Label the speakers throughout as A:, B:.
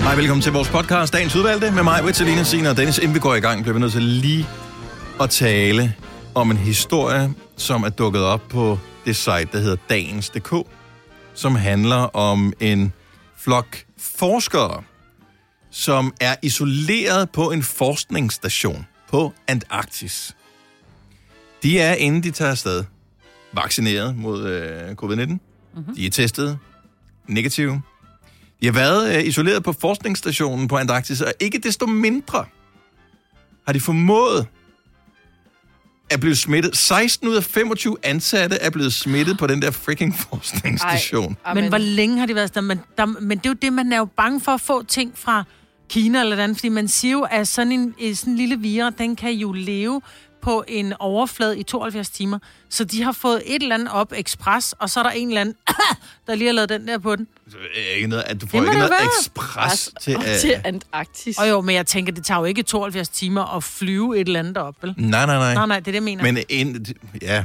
A: Hej, velkommen til vores podcast, Dagens Udvalgte, med mig, Vitalina Sina og Dennis. Inden vi går i gang, bliver vi nødt til lige at tale om en historie, som er dukket op på det site, der hedder Dagens.dk, som handler om en flok forskere, som er isoleret på en forskningsstation på Antarktis. De er, inden de tager afsted, vaccineret mod øh, covid-19. Mm-hmm. De er testet negative. De har været øh, isoleret på forskningsstationen på Antarktis, og ikke desto mindre har de formået at blive smittet. 16 ud af 25 ansatte er blevet smittet på den der freaking forskningsstation.
B: Ah,
A: Ej.
C: Men hvor længe har de været afsted? Men, der, men det er jo det, man er jo bange for at få ting fra Kina eller andet, fordi man siger jo, at sådan en, øh, sådan en lille vira, den kan jo leve på en overflade i 72 timer. Så de har fået et eller andet op ekspres, og så er der en eller anden, der lige har lavet den der på den.
A: Øh, Ikke noget, at du får
C: Det må
A: ikke
C: det
A: noget
C: være. Altså,
A: ekspres til...
B: Og
A: øh,
B: til Antarktis.
C: Og jo, men jeg tænker, det tager jo ikke 72 timer at flyve et eller andet op, vel?
A: Nej, nej, nej.
C: Nej, nej, det er det, jeg mener. Men...
A: Men en, ja,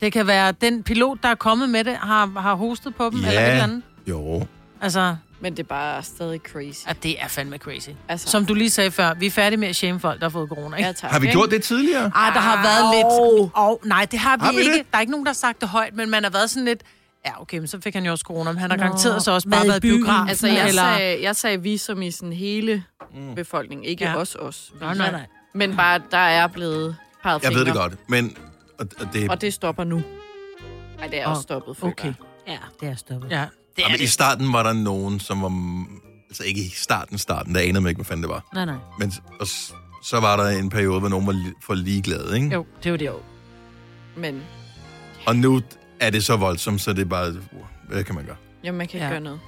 C: Det kan være, at den pilot, der er kommet med det, har, har hostet på dem, ja. eller et eller
A: ja,
C: andet.
A: jo.
C: Altså,
B: Men det er bare stadig crazy.
C: at det er fandme crazy.
B: Altså.
C: Som du lige sagde før, vi er færdige med at shame folk, der har fået corona, ikke?
B: Ja, tak.
A: Har vi gjort det tidligere?
C: Ej, der har været lidt... Oh, nej, det har vi,
A: Har vi
C: ikke.
A: det?
C: Der er ikke nogen, der har sagt det højt, men man har været sådan lidt... Ja, okay, men så fik han jo også corona, men han har
D: Nå,
C: garanteret så også
D: mad
C: bare
D: i
C: været i
D: byen.
C: biografen.
B: Altså, jeg, eller... sagde, jeg sagde vi som i sådan hele
A: Mm.
B: befolkningen, ikke
C: Ja.
B: ja. os, os. vi.
C: Nej, nej, nej.
B: Men bare, der er blevet peget
A: Jeg ved det
B: fingre,
A: godt, men... Og, og det,
B: Og det stopper nu. Nej, det er
C: Åh,
B: også stoppet, føler
C: Okay.
B: jeg.
D: Ja, det er stoppet.
C: Ja.
A: det men I starten var der nogen, som var... m- Altså ikke i starten, starten, der anede man ikke, hvad fanden det var.
D: Nej, nej.
A: Men s- og, s- så var der en periode, hvor nogen var li- for ligeglade, ikke?
C: Jo, det var det. Jo.
B: Men
A: Og nu er det så voldsomt, så det er bare... Uh, hvad kan man gøre?
B: jamen, man kan ikke ja.
C: Ja.
B: gøre noget.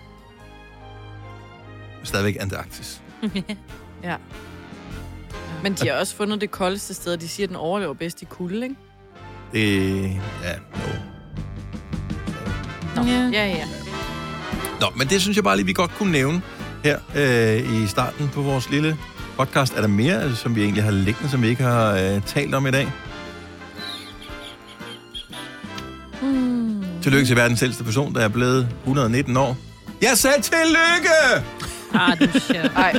A: Stadigvæk Antarktis.
B: Ja. Men de har også fundet det koldeste sted, og de siger, at den overlever bedst i kulde, ikke?
A: Det... Ja, no.
B: Ja, ja.
A: Nå, men det synes jeg bare lige, vi godt kunne nævne her øh, i starten på vores lille podcast. Er der mere, øh, som vi egentlig har liggende, som vi ikke har øh, talt om i dag? Mm. Tillykke til verdens ældste person, der er blevet 119 år. Jeg sagde tillykke!
D: Ah, du sjov.
B: Ej,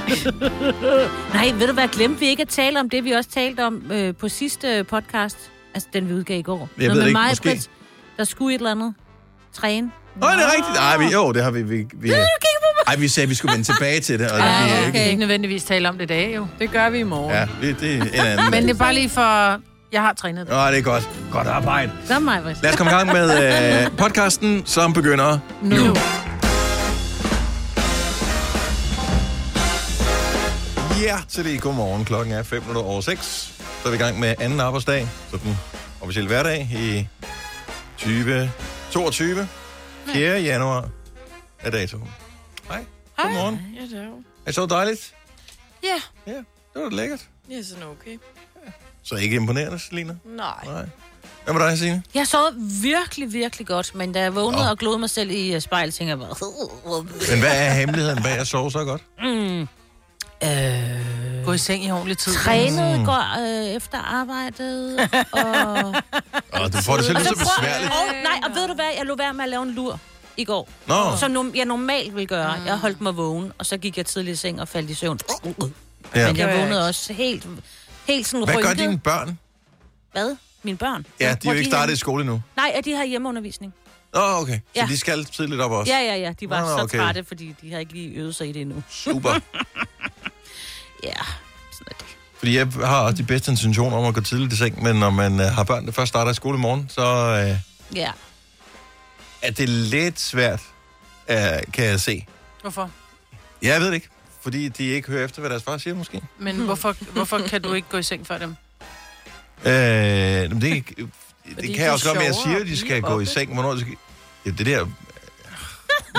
D: Nej, ved du hvad, glemte vi ikke at tale om det, vi også talte om øh, på sidste øh, podcast? Altså, den vi udgav i går. Jeg
A: ved det ikke, måske.
D: der skulle et eller andet. Træne.
A: Åh, oh, det er rigtigt. Ej, vi, jo, det har vi... vi, vi Ej, vi sagde, at vi skulle vende tilbage til det, og det
C: Ja,
A: bliver
C: okay.
A: ikke.
C: ikke nødvendigvis tale om det i dag, jo.
B: det gør vi i morgen.
A: Ja,
B: Ja.
A: det, det er en anden.
C: Men det er bare lige for... Jeg har trænet.
A: Åh, det er godt. Godt arbejde.
D: Så mig, Britt.
A: Lad os komme i gang med øh, podcasten, som begynder nu. nu. Ja, så det er godmorgen. Klokken er 5 minutter over 6. Så er vi i gang med anden arbejdsdag, så den officielle hverdag i 2022. 4. januar er datoen. Hej. Godmorgen.
B: ja, det er jo.
A: Er det så dejligt?
B: Ja,
A: Ja, det var da lækkert.
B: det er sådan okay.
A: Så ikke imponerende, Selina?
B: Nej.
A: Nej. Hvad med dig, Signe?
D: Jeg sov virkelig, virkelig godt, men da jeg vågnede
A: Nå.
D: og glod mig selv i øh, spejlet, tænkte jeg bare...
A: Men hvad Mm. er hemmeligheden bag at sove så godt?
D: Øh,
C: Gå i seng i ordentlig tid.
D: Trænede mm. går øh, efter arbejdet, og...
A: Og du får det selv
D: Og
A: lidt så
D: så prøv-
A: besværligt.
D: Og, nej, og ved du hvad? Jeg lå være med at lave en lur i går.
A: Nå.
D: Som no- jeg normalt ville gøre. Jeg holdt mig vågen, og så gik jeg tidligt i seng og faldt i søvn.
A: Ja.
D: Men jeg vågnede også helt, helt sådan
A: Hvad gør
D: rynket.
A: dine børn?
D: Hvad? Mine børn?
A: Ja, de
D: Hvor
A: er jo ikke startet i
D: henne?
A: skole endnu.
D: Nej, at de har hjemmeundervisning.
A: Åh, oh, okay. Så
D: Ja.
A: de skal tidligt op også.
D: Ja, ja, ja. De var
A: Nå,
D: så
A: okay.
D: trætte, fordi de har ikke lige øvet sig i det endnu.
A: Super.
D: Ja, sådan er det.
A: Fordi jeg har også de bedste intentioner om at gå tidligt i seng, men når man øh, har børn, der først starter i skole i morgen, så øh,
D: Ja.
A: er det lidt svært, øh, kan jeg se.
C: Hvorfor?
A: Ja, jeg ved det ikke. Fordi de ikke hører efter, hvad deres far siger, måske.
C: Men hvorfor, hvorfor kan du ikke gå i seng før dem?
A: Øh, men det, øh,
B: Fordi
A: det kan jeg
B: de
A: også godt, men jeg
B: sover
A: siger,
B: og
A: at de
B: de
A: skal
B: er
A: gå i
B: oppe.
A: seng. Hvornår de skal... Ja, det der...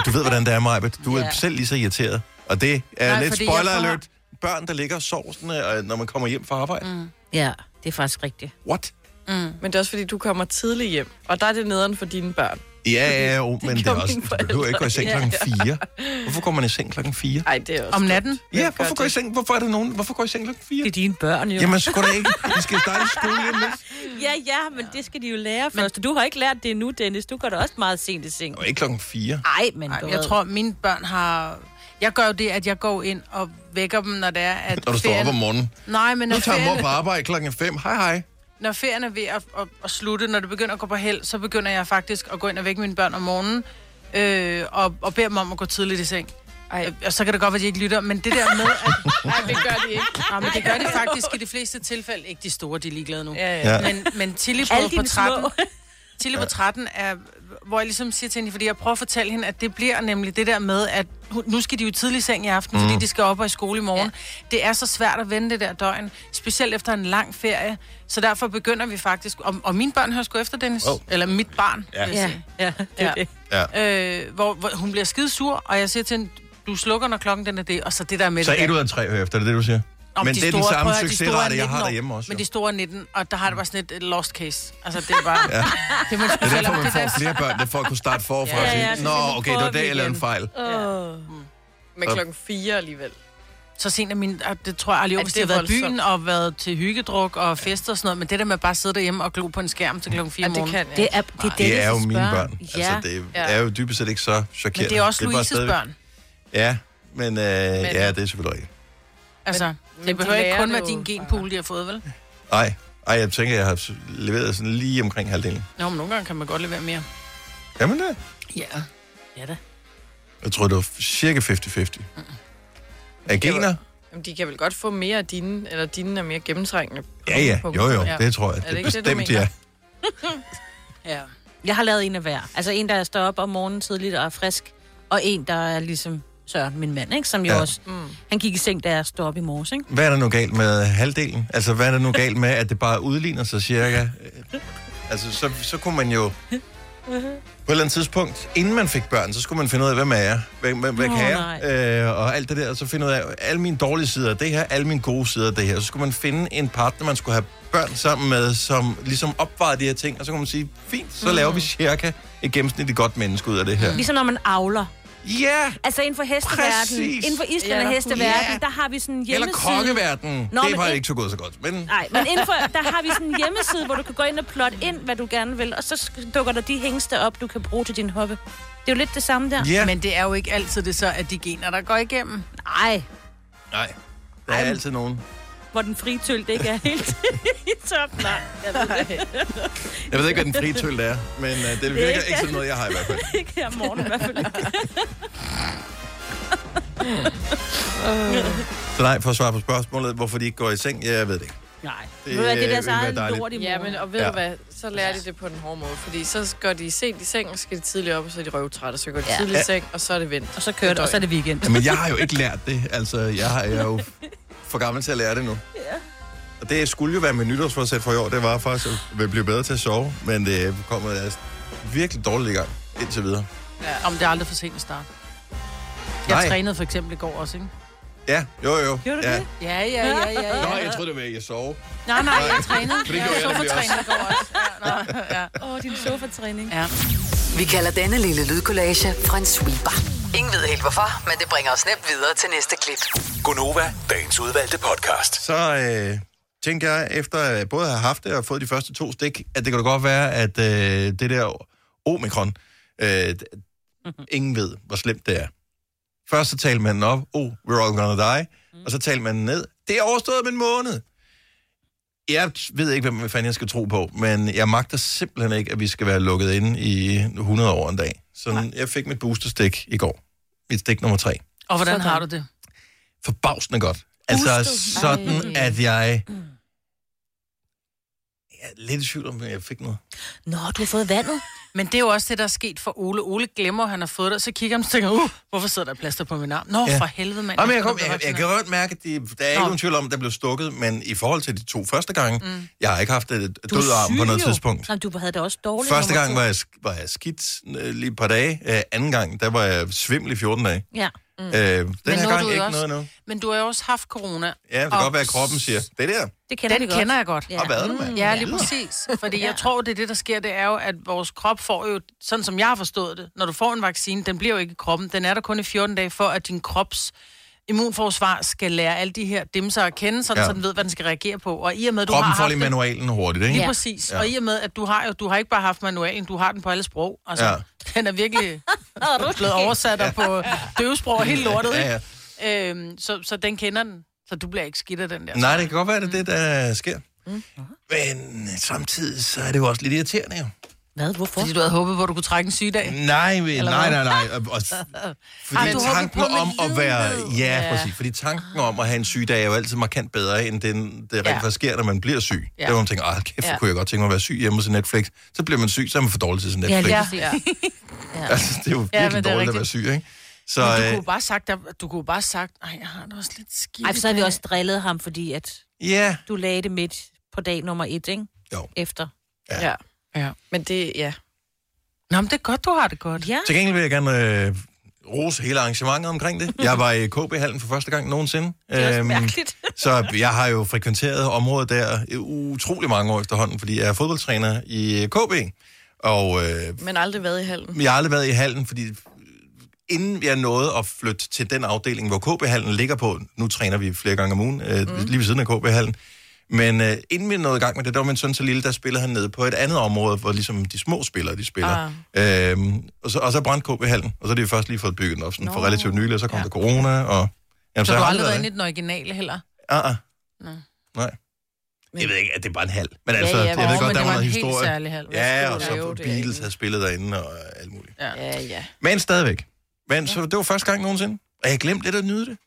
A: Du ved, hvordan det er, Maja. Du er
D: Ja.
A: selv lige så irriteret. Og det er
C: Nej,
A: lidt
C: fordi jeg
A: spoiler
C: får-
A: alert. Børn, der ligger og sover, sådan, øh, når man kommer hjem fra arbejde. Mm.
D: Ja, det er faktisk rigtigt. Mm.
A: What?
B: Men det er også fordi, du kommer tidligt hjem, og der er det nederen for dine børn.
A: Ja, ja, ja, jo, men det er
B: gjorde
A: også,
B: mine
A: du behøver ikke gå i seng klokken 4. Hvorfor går man i seng klokken 4?
B: Ej, det er også
C: Om
B: dumt.
C: natten?
A: Ja,
B: Jeg gør
A: hvorfor går, i seng? hvorfor er der nogen? Hvorfor går I i seng klokken 4?
D: Det er dine børn, jo.
A: Jamen, sgu da ikke. Vi skal starte i skole lige om lidt.
D: Ja, ja, men det skal de jo lære først. Du har ikke lært det endnu, Dennis. Du går da også meget sent i seng.
A: Nå, ikke klokken 4.
D: Ej, men
C: Nej,
D: du
C: jeg
D: ved.
C: tror, mine børn har... Jeg gør jo det, at jeg går ind og vækker dem, når det er, at...
A: Når du står op om morgenen.
C: Nej, men når
A: Nu tager mor
C: ferien,
A: på arbejde klokken 5. Hej hej.
C: når ferien er ved at, at, at slutte, når det begynder at gå på held, så begynder jeg faktisk at gå ind og vække mine børn om morgenen, øh, og, og beder dem om at gå tidligt i seng.
B: Ej.
C: Ej. Og så kan det godt være, at de ikke lytter, men det der med, at...
B: Nej, det gør de ikke.
D: Ah,
C: Nå, men det gør de faktisk i de fleste tilfælde. Ikke de store, de er ligeglade nu.
B: Ja, ja.
A: Ja.
C: Men, men Tilly
D: Alle
C: på, på
D: dine små.
C: 13, Tilly på 13 er, hvor jeg ligesom siger til hende, fordi jeg prøver at fortælle hende, at det bliver nemlig det der med, at hun- nu skal de jo tidlig i seng i aften,
A: Mm.
C: fordi de skal op og i skole i morgen. Det er så svært at vende det der døgn, specielt efter en lang ferie. Så derfor begynder vi faktisk, og, og mine børn hører sgu efter, Dennis,
A: Wow.
C: eller mit barn,
A: Ja.
C: vil jeg
D: Ja,
C: sige.
D: ja, det er det.
A: Ja.
C: Øh, hvor, hvor hun bliver skide sur, og jeg siger til hende, du slukker, når klokken den er det, og så det der med
A: Så
C: det der-
A: et ud af tre hører efter, det er det, du siger?
C: Nå,
A: men
C: de
A: det er den
C: store-
A: samme
C: prøv at høre, de store er
A: succesrate, jeg
C: 19
A: har
C: år,
A: derhjemme også.
C: Men
A: jo.
C: de store er 19, og der har det bare sådan et et lost case. Altså, det er bare... ja. Det er man
A: Det er
C: specielt.
A: derfor,
C: Det
A: man
C: er
A: får flere børn, det er for at kunne starte forfra
C: Ja,
A: og
D: ja,
A: sige,
D: så
A: Nå,
D: nu
A: okay, det
D: prøver
A: var det,
D: vi
A: jeg lavede en
D: igen."
A: fejl.
D: Åh.
B: Mm. Men klokken 4 alligevel.
C: Så sent af min... og Det tror jeg aldrig,
B: Ja,
C: hvis de
B: det
C: har
B: er
C: været i
B: voldsomt.
C: byen og været til hyggedruk og fester og sådan noget, men det der med at bare sidde derhjemme og glo på en skærm til klokken 4
B: Ja,
C: om
B: det
C: morgenen.
B: kan jeg.
D: Det
B: ikke.
D: er, det, er det,
A: Det er
D: jeg
A: jo
D: skal
A: mine
D: spørge.
A: børn.
D: Ja.
A: Altså, det
B: Ja.
A: er jo dybest set ikke så
C: Men
A: chokerende.
C: det er også
A: bare
C: Louises
A: stadigvæk-
C: børn.
A: Ja, men øh, ja, det er selvfølgelig rigtigt.
C: Altså,
B: men
C: det
B: de
C: behøver ikke
B: lærer
C: kun
B: det
C: være
B: jo
C: din
B: fra-
C: genpool, de har fået, vel?
A: Nej, ej, jeg tænker, jeg har leveret sådan lige omkring halvdelen.
C: Nå, men nogle gange kan man godt levere mere.
A: Jamen det.
C: Ja.
D: Ja da.
A: Jeg tror, det var cirka 50-50.
C: Mm.
A: Er gener?
B: Jamen, de kan vel godt få mere af dine, eller dine er mere gennemtrængende.
A: Ja, ja.
B: på-
A: Jo, jo,
B: Ja.
A: det tror jeg.
B: det
A: Det,
B: ikke det, du
A: bestemt,
B: mener?
A: ja.
C: Ja.
D: Jeg har lavet en af hver. Altså en, der står op om morgenen tidligt og er frisk, og en, der er ligesom Søren, min mand, ikke? som jo
A: Ja.
D: ja. også... Mm. Han gik i seng, da jeg stod op i morges, ikke?
A: Hvad er der nu galt med halvdelen? Altså, hvad er der nu galt med, at det bare udligner sig cirka? Øh, Altså, så, så kunne man jo...
E: Mm-hmm.
A: På et eller andet tidspunkt, inden man fik børn, så skulle man finde ud af, hvem er jeg? Hvem, hvem, hvem
D: Nå,
A: kan jeg? Øh, og alt det der, og så finde ud af, alle mine dårlige sider af det her, alle mine gode sider af det her. Så skulle man finde en partner, man skulle have børn sammen med, som ligesom opvejede de her ting, og så kunne man sige, fint, så
D: Mm.
A: laver vi cirka et gennemsnitligt godt menneske ud af det her.
D: Ligesom når man avler.
A: Ja!
D: Altså inden for hesteverdenen,
A: Præcis.
D: inden for Island
B: Ja.
D: og hesteverdenen,
A: Ja.
D: der har vi sådan en
A: Eller
D: hjemmeside...
A: kongeverden.
D: Nå,
A: det
D: men
A: var
D: ind-
A: ikke så gået så godt, men...
D: Nej, men inden for, der har vi sådan en hjemmeside, hvor du kan gå ind og plotte ind, hvad du gerne vil, og så sk- dukker der de hængste op, du kan bruge til din hoppe. Det er jo lidt det samme der.
A: Ja,
C: Men det er jo ikke altid det så, at de gener, der går igennem.
D: Nej,
A: nej. Der er altid nogen.
D: hvor den fritølte ikke er helt i top. Nej, jeg ved det
A: Jeg ved ikke, hvad den frie tøl er, men uh, det virker
D: ikke-
A: ikke sådan noget, jeg har i hvert fald.
D: ikke her om morgenen i hvert fald.
A: Så nej, for at svare på spørgsmålet, hvorfor de ikke går i seng, ja, jeg ved det ikke.
D: Nej, det,
A: Det,
D: det, det er
A: øh,
D: deres
A: ville være
D: eget
A: dejligt.
D: lort i morgen.
B: Ja, men og ved
A: Ja.
B: ja. du hvad, så lærer de det på den hårde måde. Fordi så går de sent i seng, og så skal de tidligt op, og så er de røvtrætte, og så går de
D: Ja.
B: ja. tidligt i seng, og så er det vendt.
D: Og så kører det, og så er det weekend.
A: Men jeg har jo ikke lært det. Altså, jeg, har, jeg er jo for gammel til at lære det nu. Ja. Og det skulle jo være mit nytårsforsæt for i år, det var faktisk at blive bedre til at sove, men det kommer altså virkelig dårligt i gang indtil videre.
C: Om det er aldrig for sent at starte. Jeg
A: Nej.
C: trænede for eksempel i går også, ikke?
A: Ja, jo, jo.
D: Gjorde du
A: ja.
D: det?
C: Ja, ja, ja, ja. ja.
A: Nå, jeg troede, det var, at jeg sov.
C: Nej, nej, jeg trænede.
A: det gjorde jeg
C: jeg
A: nemlig også.
C: sofa-trænede i går også. Ja, nå, ja.
D: Åh, oh, din sofa-træning.
C: ja.
F: Vi kalder denne lille lydkollage Frans sweeper. Ingen ved helt hvorfor, men det bringer os nemt videre til næste klip.
G: Gunova, dagens udvalgte podcast.
A: så øh, tænker jeg, efter at både have haft det og fået de første to stik, at det kan da godt være, at øh, det der omikron, øh, d- ingen ved, hvor slemt det er. Først så talte man den op, oh, we're all gonna die, og så talte man den ned, det er overstået om en måned. Jeg ved ikke, hvem fanden jeg skal tro på, men jeg magter simpelthen ikke, at vi skal være lukket inde i 100 år en dag. Så jeg fik mit boosterstik i går. Mit stik nummer tre
C: Og hvordan har du det?
A: forbavsende godt. Altså
D: Husket.
A: sådan,
C: Mm.
A: at jeg... Jeg er lidt i tvivl om, at jeg fik noget.
D: Nå, du har fået vandet.
C: Men det er jo også det, der er sket for Ole. Ole glemmer, at han har fået det, og så kigger han og tænker, uh, hvorfor sidder der plaster på min arm? Nå,
A: Ja.
C: ja. for helvede, mand.
A: Nå, men jeg, kom,
C: skulle da
A: jeg, jeg
C: beholde
A: kan
C: sådan
A: godt mærke, at de, der er ikke
C: Nå.
A: nogen tvivl om, at der blev stukket, men i forhold til de to første gange, mm. jeg har ikke haft et død arm på noget tidspunkt.
D: Nå, men du havde det også dårligt.
A: Første
D: nummer
A: gang
D: to.
A: var jeg, sk- var jeg skidt øh, lige et par dage. Øh, anden gang, der var jeg svimmel i 14 dage.
D: Ja.
A: Mm. Øh, den
C: Men
A: her
C: nu er
A: gang
C: du jo
A: ikke
C: også-
A: noget nu.
C: Men du har jo også haft corona.
A: Ja, det kan
C: Og
A: godt være, at kroppen siger, det der
D: Det kender vi
C: Den
D: godt.
C: kender jeg godt.
D: Ja. Mm.
A: har været der, mand.
C: Ja, lige præcis. Fordi jeg tror, det er det, der sker, det er jo, at vores krop får jo, sådan som jeg har forstået det, når du får en vaccine, den bliver jo ikke i kroppen. Den er der kun i 14 dage, for at din krops immunforsvar skal lære alle de her dimser at kende, sådan,
A: Ja.
C: ja. så den ved, hvad den skal reagere på. Og i og med, at du
A: Kroppen
C: har
A: får
C: haft
A: lige
C: den-
A: manualen hurtigt, ikke?
C: Lige
D: Ja.
C: ja. præcis.
A: Ja.
C: Ja. Og i og med, at du har jo, du har ikke bare haft manualen, du har den på alle sprog. Altså,
A: Ja.
C: ja. den er virkelig... blevet oversat og på døvesprog og helt lortet.
A: Ja, ja.
C: Ikke? Øhm, så, så den kender den. Så du bliver ikke skidt af den der.
A: Nej, det kan godt være, det er det,
C: Mm.
A: der sker. Men samtidig så er det jo også lidt irriterende, jo.
C: Hvad? Hvorfor? Fordi du havde håbet på, at du kunne trække en sygedag.
A: Nej, men-
C: Eller
A: nej,
C: hvad?
A: nej, nej. Og- Og, fordi
C: Ej, du håber
A: tanken
C: på med
A: om at være...
C: lidenhed.
A: Ja,
C: Ja.
A: præcis. Fordi tanken om at have en sygedag er jo altid markant bedre, end den, det rent
C: Ja.
A: faktisk sker, når man bliver syg.
B: Ja.
A: Der hvor man tænker, ah, kæft, hvor
B: Ja.
A: kunne jeg godt tænke mig at være syg hjemme hos Netflix. Så bliver man syg, så er man for dårlig til sin
C: Ja,
A: Netflix.
C: ja.
B: Ja.
A: Altså, det er jo
C: Ja, men
A: virkelig
C: det er
A: dårligt at være
C: rigtigt.
A: syg, ikke? Så,
C: Men du
A: øh,
C: kunne jo bare sagt, at- du kunne jo bare sagt, nej, jeg har det også lidt skidt.
D: Ej, for så havde vi også drillet ham, fordi at
A: ja.
D: du lagde det midt på dag nummer et, ikke?
A: Jo.
D: Efter.
B: ja.
C: Ja.
B: Men det, ja.
C: Nå, men det er godt, du har det godt.
D: Ja.
A: Til gengæld vil jeg gerne øh, rose hele arrangementet omkring det. Jeg var i KB-hallen for første gang nogensinde. Det
D: er også mærkeligt.
A: så jeg har jo frekventeret området der i utrolig mange år efterhånden, fordi jeg er fodboldtræner i KB. Og øh,
B: Men aldrig været i hallen.
A: jeg har aldrig været i hallen, fordi øh, inden jeg nåede at flytte til den afdeling, hvor KB-hallen ligger på, nu træner vi flere gange om ugen, øh, mm. lige ved siden af KB-hallen, men øh, inden vi nåede i gang med det, der var min søn så lille, der spillede han nede på et andet område, hvor ligesom de små spillere, de spiller. Ah. Øhm, og, så, og så brændte KB-hallen, og så har de først lige fået bygget den op sådan, for relativt nylig, og så kom ja. der corona, og... Jamen,
C: Så du har
A: jeg har
C: aldrig været inde
A: der.
C: i den originale heller.
A: Ah, ah. Nej. Jeg ved ikke, at det er bare en halv. Men altså,
B: ja,
A: jeg ved
B: men-
A: godt,
C: men
A: der
C: det
A: var
C: var
A: noget
C: en helt
A: historie.
C: særlig hal. Hvad
A: Ja,
C: skulle
A: og
B: du lave
A: så
B: det,
A: Beatles
B: ikke?
A: havde spillet derinde og alt muligt.
B: Ja, ja.
A: Men stadigvæk. Men så det var første gang nogensinde. Og jeg glemte lidt at nyde det.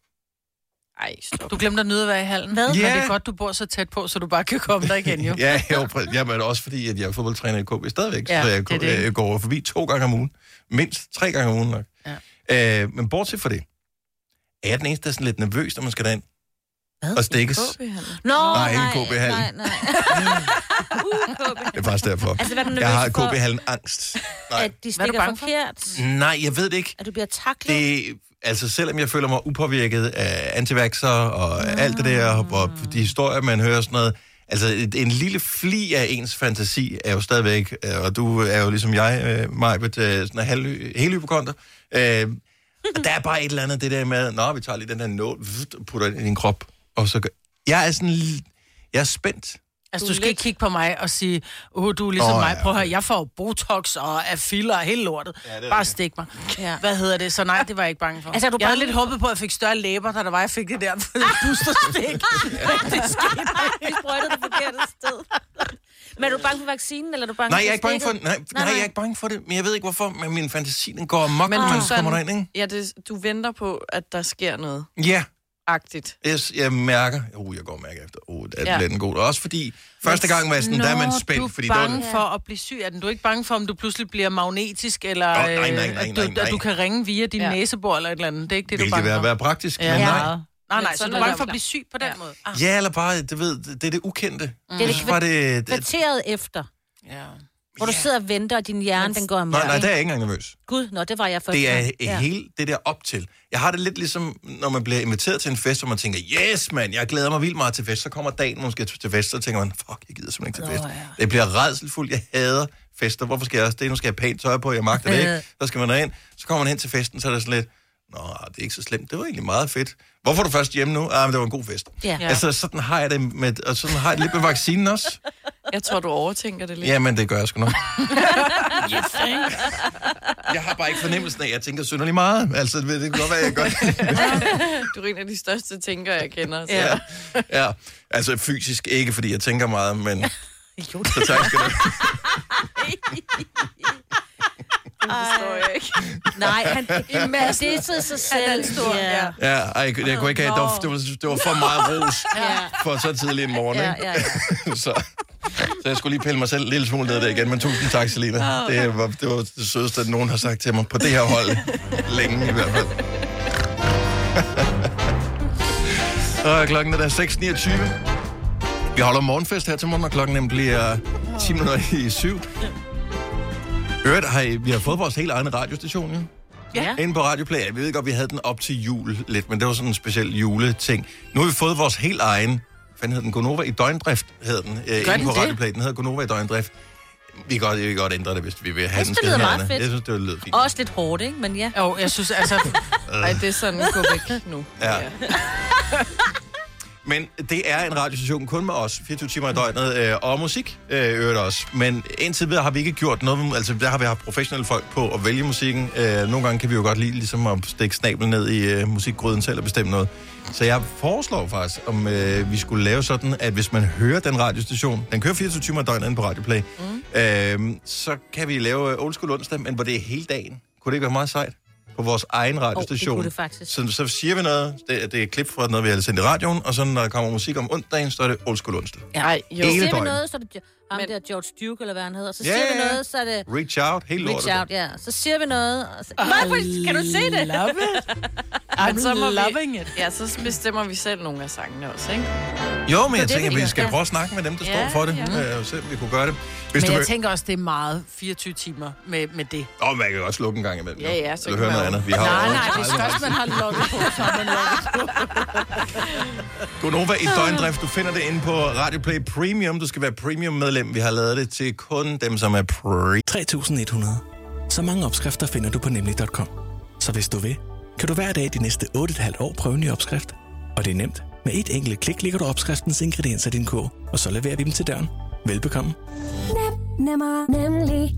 B: Ej, stop.
C: Du glemte at nyde at være i hallen. Hvad? Men det er godt, du bor så tæt på, så du bare kan komme der igen, jo.
A: Ja, jeg var præ- jamen, det er også fordi, at jeg er fodboldtræner i KB stadigvæk.
C: Ja,
A: så
C: det er
A: jeg,
C: det, ikke?
A: jeg går forbi to gange om ugen. Mindst tre gange om ugen nok. Ja. Øh, men bortset fra det, er jeg den eneste, der er sådan lidt nervøs, når man skal derind?
D: Hvad?
A: Og stikkes.
B: KB-hallen.
D: Nå,
A: Nej,
D: nej,
A: ikke KB-hallen.
D: Nej, nej. uh, KB.
A: Det er faktisk derfor.
D: Altså, hvad er du
A: jeg har
D: nervøs for?
A: KB-hallen angst. Nej.
D: At de
C: Hvad er du
D: stikker
C: bange for?
D: forkert.
A: Nej, jeg ved det ikke.
D: At du bliver taklet.
A: det, altså selvom jeg føler mig upåvirket af antivaxer og mm. alt det der, og de historier, man hører og sådan noget, altså et- en lille fli af ens fantasi er jo stadigvæk, øh, og du er jo ligesom jeg, Majbet, øh, sådan en halv, hele hypokonter. Øh, og der er bare et eller andet det der med, nå, vi tager lige den her nål, vft, og putter den ind i din krop, og så gør... Jeg er sådan... l- Jeg er spændt.
C: Altså, du skal ikke kigge på mig og sige, åh, du er ligesom
A: Åh,
C: oh,
A: ja,
C: mig, prøv at høre, jeg får jo botox og er filler og hele lortet. Ja, bare stik mig. Ja. Hvad hedder det? Så nej, det var jeg ikke bange for.
D: Altså, er du
C: jeg havde
D: bange
C: lidt håbet på, at jeg fik større læber, da der var, jeg fik det der boosterstik.
D: Vi sprøjtede det forkerte sted. Men er du bange for vaccinen, eller er du bange
A: Nej,
D: for
A: jeg er ikke bange for det.
D: stikket?
A: Nej, nej, nej, jeg er ikke bange for det, men jeg ved ikke hvorfor, men min fantasi, den går amok,
B: Men
A: når man
B: du,
A: kommer derind, ikke?
B: ja, det, du venter på, at der sker noget
A: Ja.
B: agtigt.
A: Yes, jeg mærker. Uh, jeg går og mærker efter. Uh, er
B: Ja.
A: ja. den god. Også fordi første gang var jeg sådan, der er man
C: du
A: spændt,
C: er
A: fordi der var
C: bange
A: den...
C: for at blive syg af den. Du er ikke bange for, om du pludselig bliver magnetisk, eller
A: Nå, nej, nej, nej,
C: øh, at
A: nej,
C: du,
A: nej.
C: at du kan ringe via din ja.
B: Ja.
C: næsebor eller et eller andet. Det er ikke det, du
A: Ville
C: er
A: det
C: bange
A: være,
C: for.
A: være praktisk?
C: Ja.
A: Men nej.
C: Nej, nej, nej, så
B: sådan
C: du er
B: er
C: bange
B: det
C: for at
B: jo.
C: blive syg på den ja. måde. Ah,
A: Ja, eller bare, du ved, det er det ukendte. Mm.
D: det
A: Det, det, var det, det,
D: Kvarteret efter,
C: ja.
D: hvor du sidder og venter, og din hjerne, den går amok.
A: nej, nej, der er jeg ikke engang nervøs.
D: Gud, nå, det var jeg først.
A: Det er ja. hele det der op til. Jeg har det lidt ligesom, når man bliver inviteret til en fest, og man tænker, yes, mand, jeg glæder mig vildt meget til fest. Så kommer dagen, man skal til fest, så tænker man, fuck, jeg gider simpelthen ikke til fest. Ja. Det bliver redselfuldt. Jeg hader fester. Hvorfor skal jeg også det? Nu skal jeg have pænt tøj på, jeg magter det ikke. Så skal man derind. Så kommer man hen til festen, så er det sådan lidt, Nå, det er ikke så slemt. Det var egentlig meget fedt. Hvorfor er du først hjemme nu? Ah, men det var en god fest.
D: Ja.
A: Altså, sådan har jeg det med, og sådan har jeg det lidt med vaccinen også.
B: Jeg tror, du overtænker det lidt.
A: Jamen, det gør jeg sgu nok. jeg har bare ikke fornemmelsen af, at jeg tænker synderlig meget. Altså, det det kan godt være, jeg gør
B: Du er en af de største tænkere, jeg kender. Så.
A: Ja. ja. Altså fysisk ikke, fordi jeg tænker meget, men... Jo, så tak skal du have.
B: Det forstår jeg ikke.
D: Nej, han, det er så sig selv. Han er stor, ja.
A: Ja, ej, jeg, jeg kunne ikke have... Det var, det var, det var for meget ros for så tidlig en morgen,
D: Ja,
A: ikke?
D: ja, ja.
A: så, så jeg skulle lige pille mig selv en lille smule ned der igen, men tusind tak, Selina. Det var det, var det sødeste, at nogen har sagt til mig på det her hold. Længe i hvert fald. Og klokken er der 6.29. Vi holder morgenfest her til morgen, og klokken den bliver 10 minutter i syv. Øvrigt, har I, vi har fået vores helt egen radiostation, jo.
D: Ja.
A: Inde på Radio Play. Jeg ved godt, vi havde den op til jul lidt, men det var sådan en speciel juleting. Nu har vi fået vores helt egen, hvad fanden hed den? Gonova i døgndrift hed den. Øh, inde
C: den
A: på
C: det?
A: Radio Play. Den hedder Gonova i døgndrift. Vi kan godt, vi kan godt ændre det, hvis vi vil have
D: Jeg
A: den.
D: synes, det lyder
A: skal
D: meget
A: hedde
D: fedt.
A: den. Jeg synes, det lyder fint.
D: Også lidt hårdt, ikke? Men ja.
A: Øh.
C: Jo, jeg synes, altså,
B: Ej, det er sådan, gå væk nu.
A: Ja. Men det er en radiostation kun med os, 24 timer i døgnet, øh, og musik øh, øvrigt også. Men indtil videre har vi ikke gjort noget, med- altså der har vi haft professionelle folk på at vælge musikken. Øh, nogle gange kan vi jo godt lide ligesom at stikke snablen ned i øh, musikgryden selv og bestemme noget. Så jeg foreslår faktisk, om øh, vi skulle lave sådan, at hvis man hører den radiostation, den kører 24 timer i døgnet inde på Radioplay, mm. øh, så kan vi lave øh, Old School onsdag, men hvor det er hele dagen. Kunne det ikke være meget sejt? På vores egen radiostation.
D: kunne det faktisk.
A: Så, så siger vi noget, det, det er et klip fra noget, vi har sendt i radioen, og så når der kommer musik om onsdagen, så er det Old School onsdag.
B: Nej, jo.
A: Hele
D: Siger vi
A: døgnet.
D: noget, så er det Jo- ham
B: Men-
D: der George Duke, eller hvad han hedder. Så
A: Ja,
D: siger vi
A: ja, ja.
D: noget, øh, så er det
A: Reach out, helt lortet.
D: reach out, ja. Så siger vi noget. Og så... Hvorfor kan du se det?
C: Love it.
B: Men så må
C: I'm
B: vi-
C: loving it.
B: Ja, så bestemmer vi selv nogle af sangene også, ikke?
A: Jo, men
D: det,
A: jeg tænker,
D: vi
A: vi
D: gør.
A: skal
D: Ja.
A: prøve at snakke med dem, der
B: Ja,
A: står for det,
B: ja.
A: ja. øh, og se om vi kunne gøre det. Hvis
C: Men
A: du
C: jeg
A: vil...
C: tænker også, det er meget 24 timer med, med det.
A: Åh, oh, man kan godt slukke en gang imellem.
B: Ja, ja, så
A: så kan
B: kan
A: høre
B: man
A: noget
B: jo-
A: andet. Vi har
C: Nej,
A: jo-
C: nej, det er størst, man har lukket på, så har man lukket på.
A: Gonova i døgndrift. Du finder det inde på Radio Play Premium. Du skal være premium-medlem. Vi har lavet det til kun dem, som er pre.
H: 3.100. Så mange opskrifter finder du på nemlig.com. Så hvis du vil, kan du hver dag de næste 8,5 år prøve en ny opskrift. Og det er nemt. Med et enkelt klik ligger du opskriftens ingredienser i din kog, og så leverer vi dem til døren. Velbekomme.
I: Nemmer, nemlig.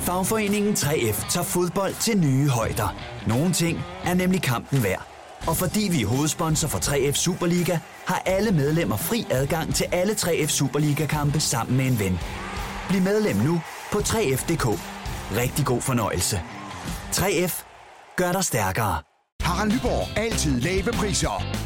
J: Fagforeningen 3F tager fodbold til nye højder. Nogle ting er nemlig kampen værd. Og fordi vi er hovedsponsor for 3F Superliga, har alle medlemmer fri adgang til alle 3F Superliga-kampe sammen med en ven. Bliv medlem nu på 3F.dk. Rigtig god fornøjelse. 3F gør dig stærkere.
K: Harald Nyborg. Altid lave priser.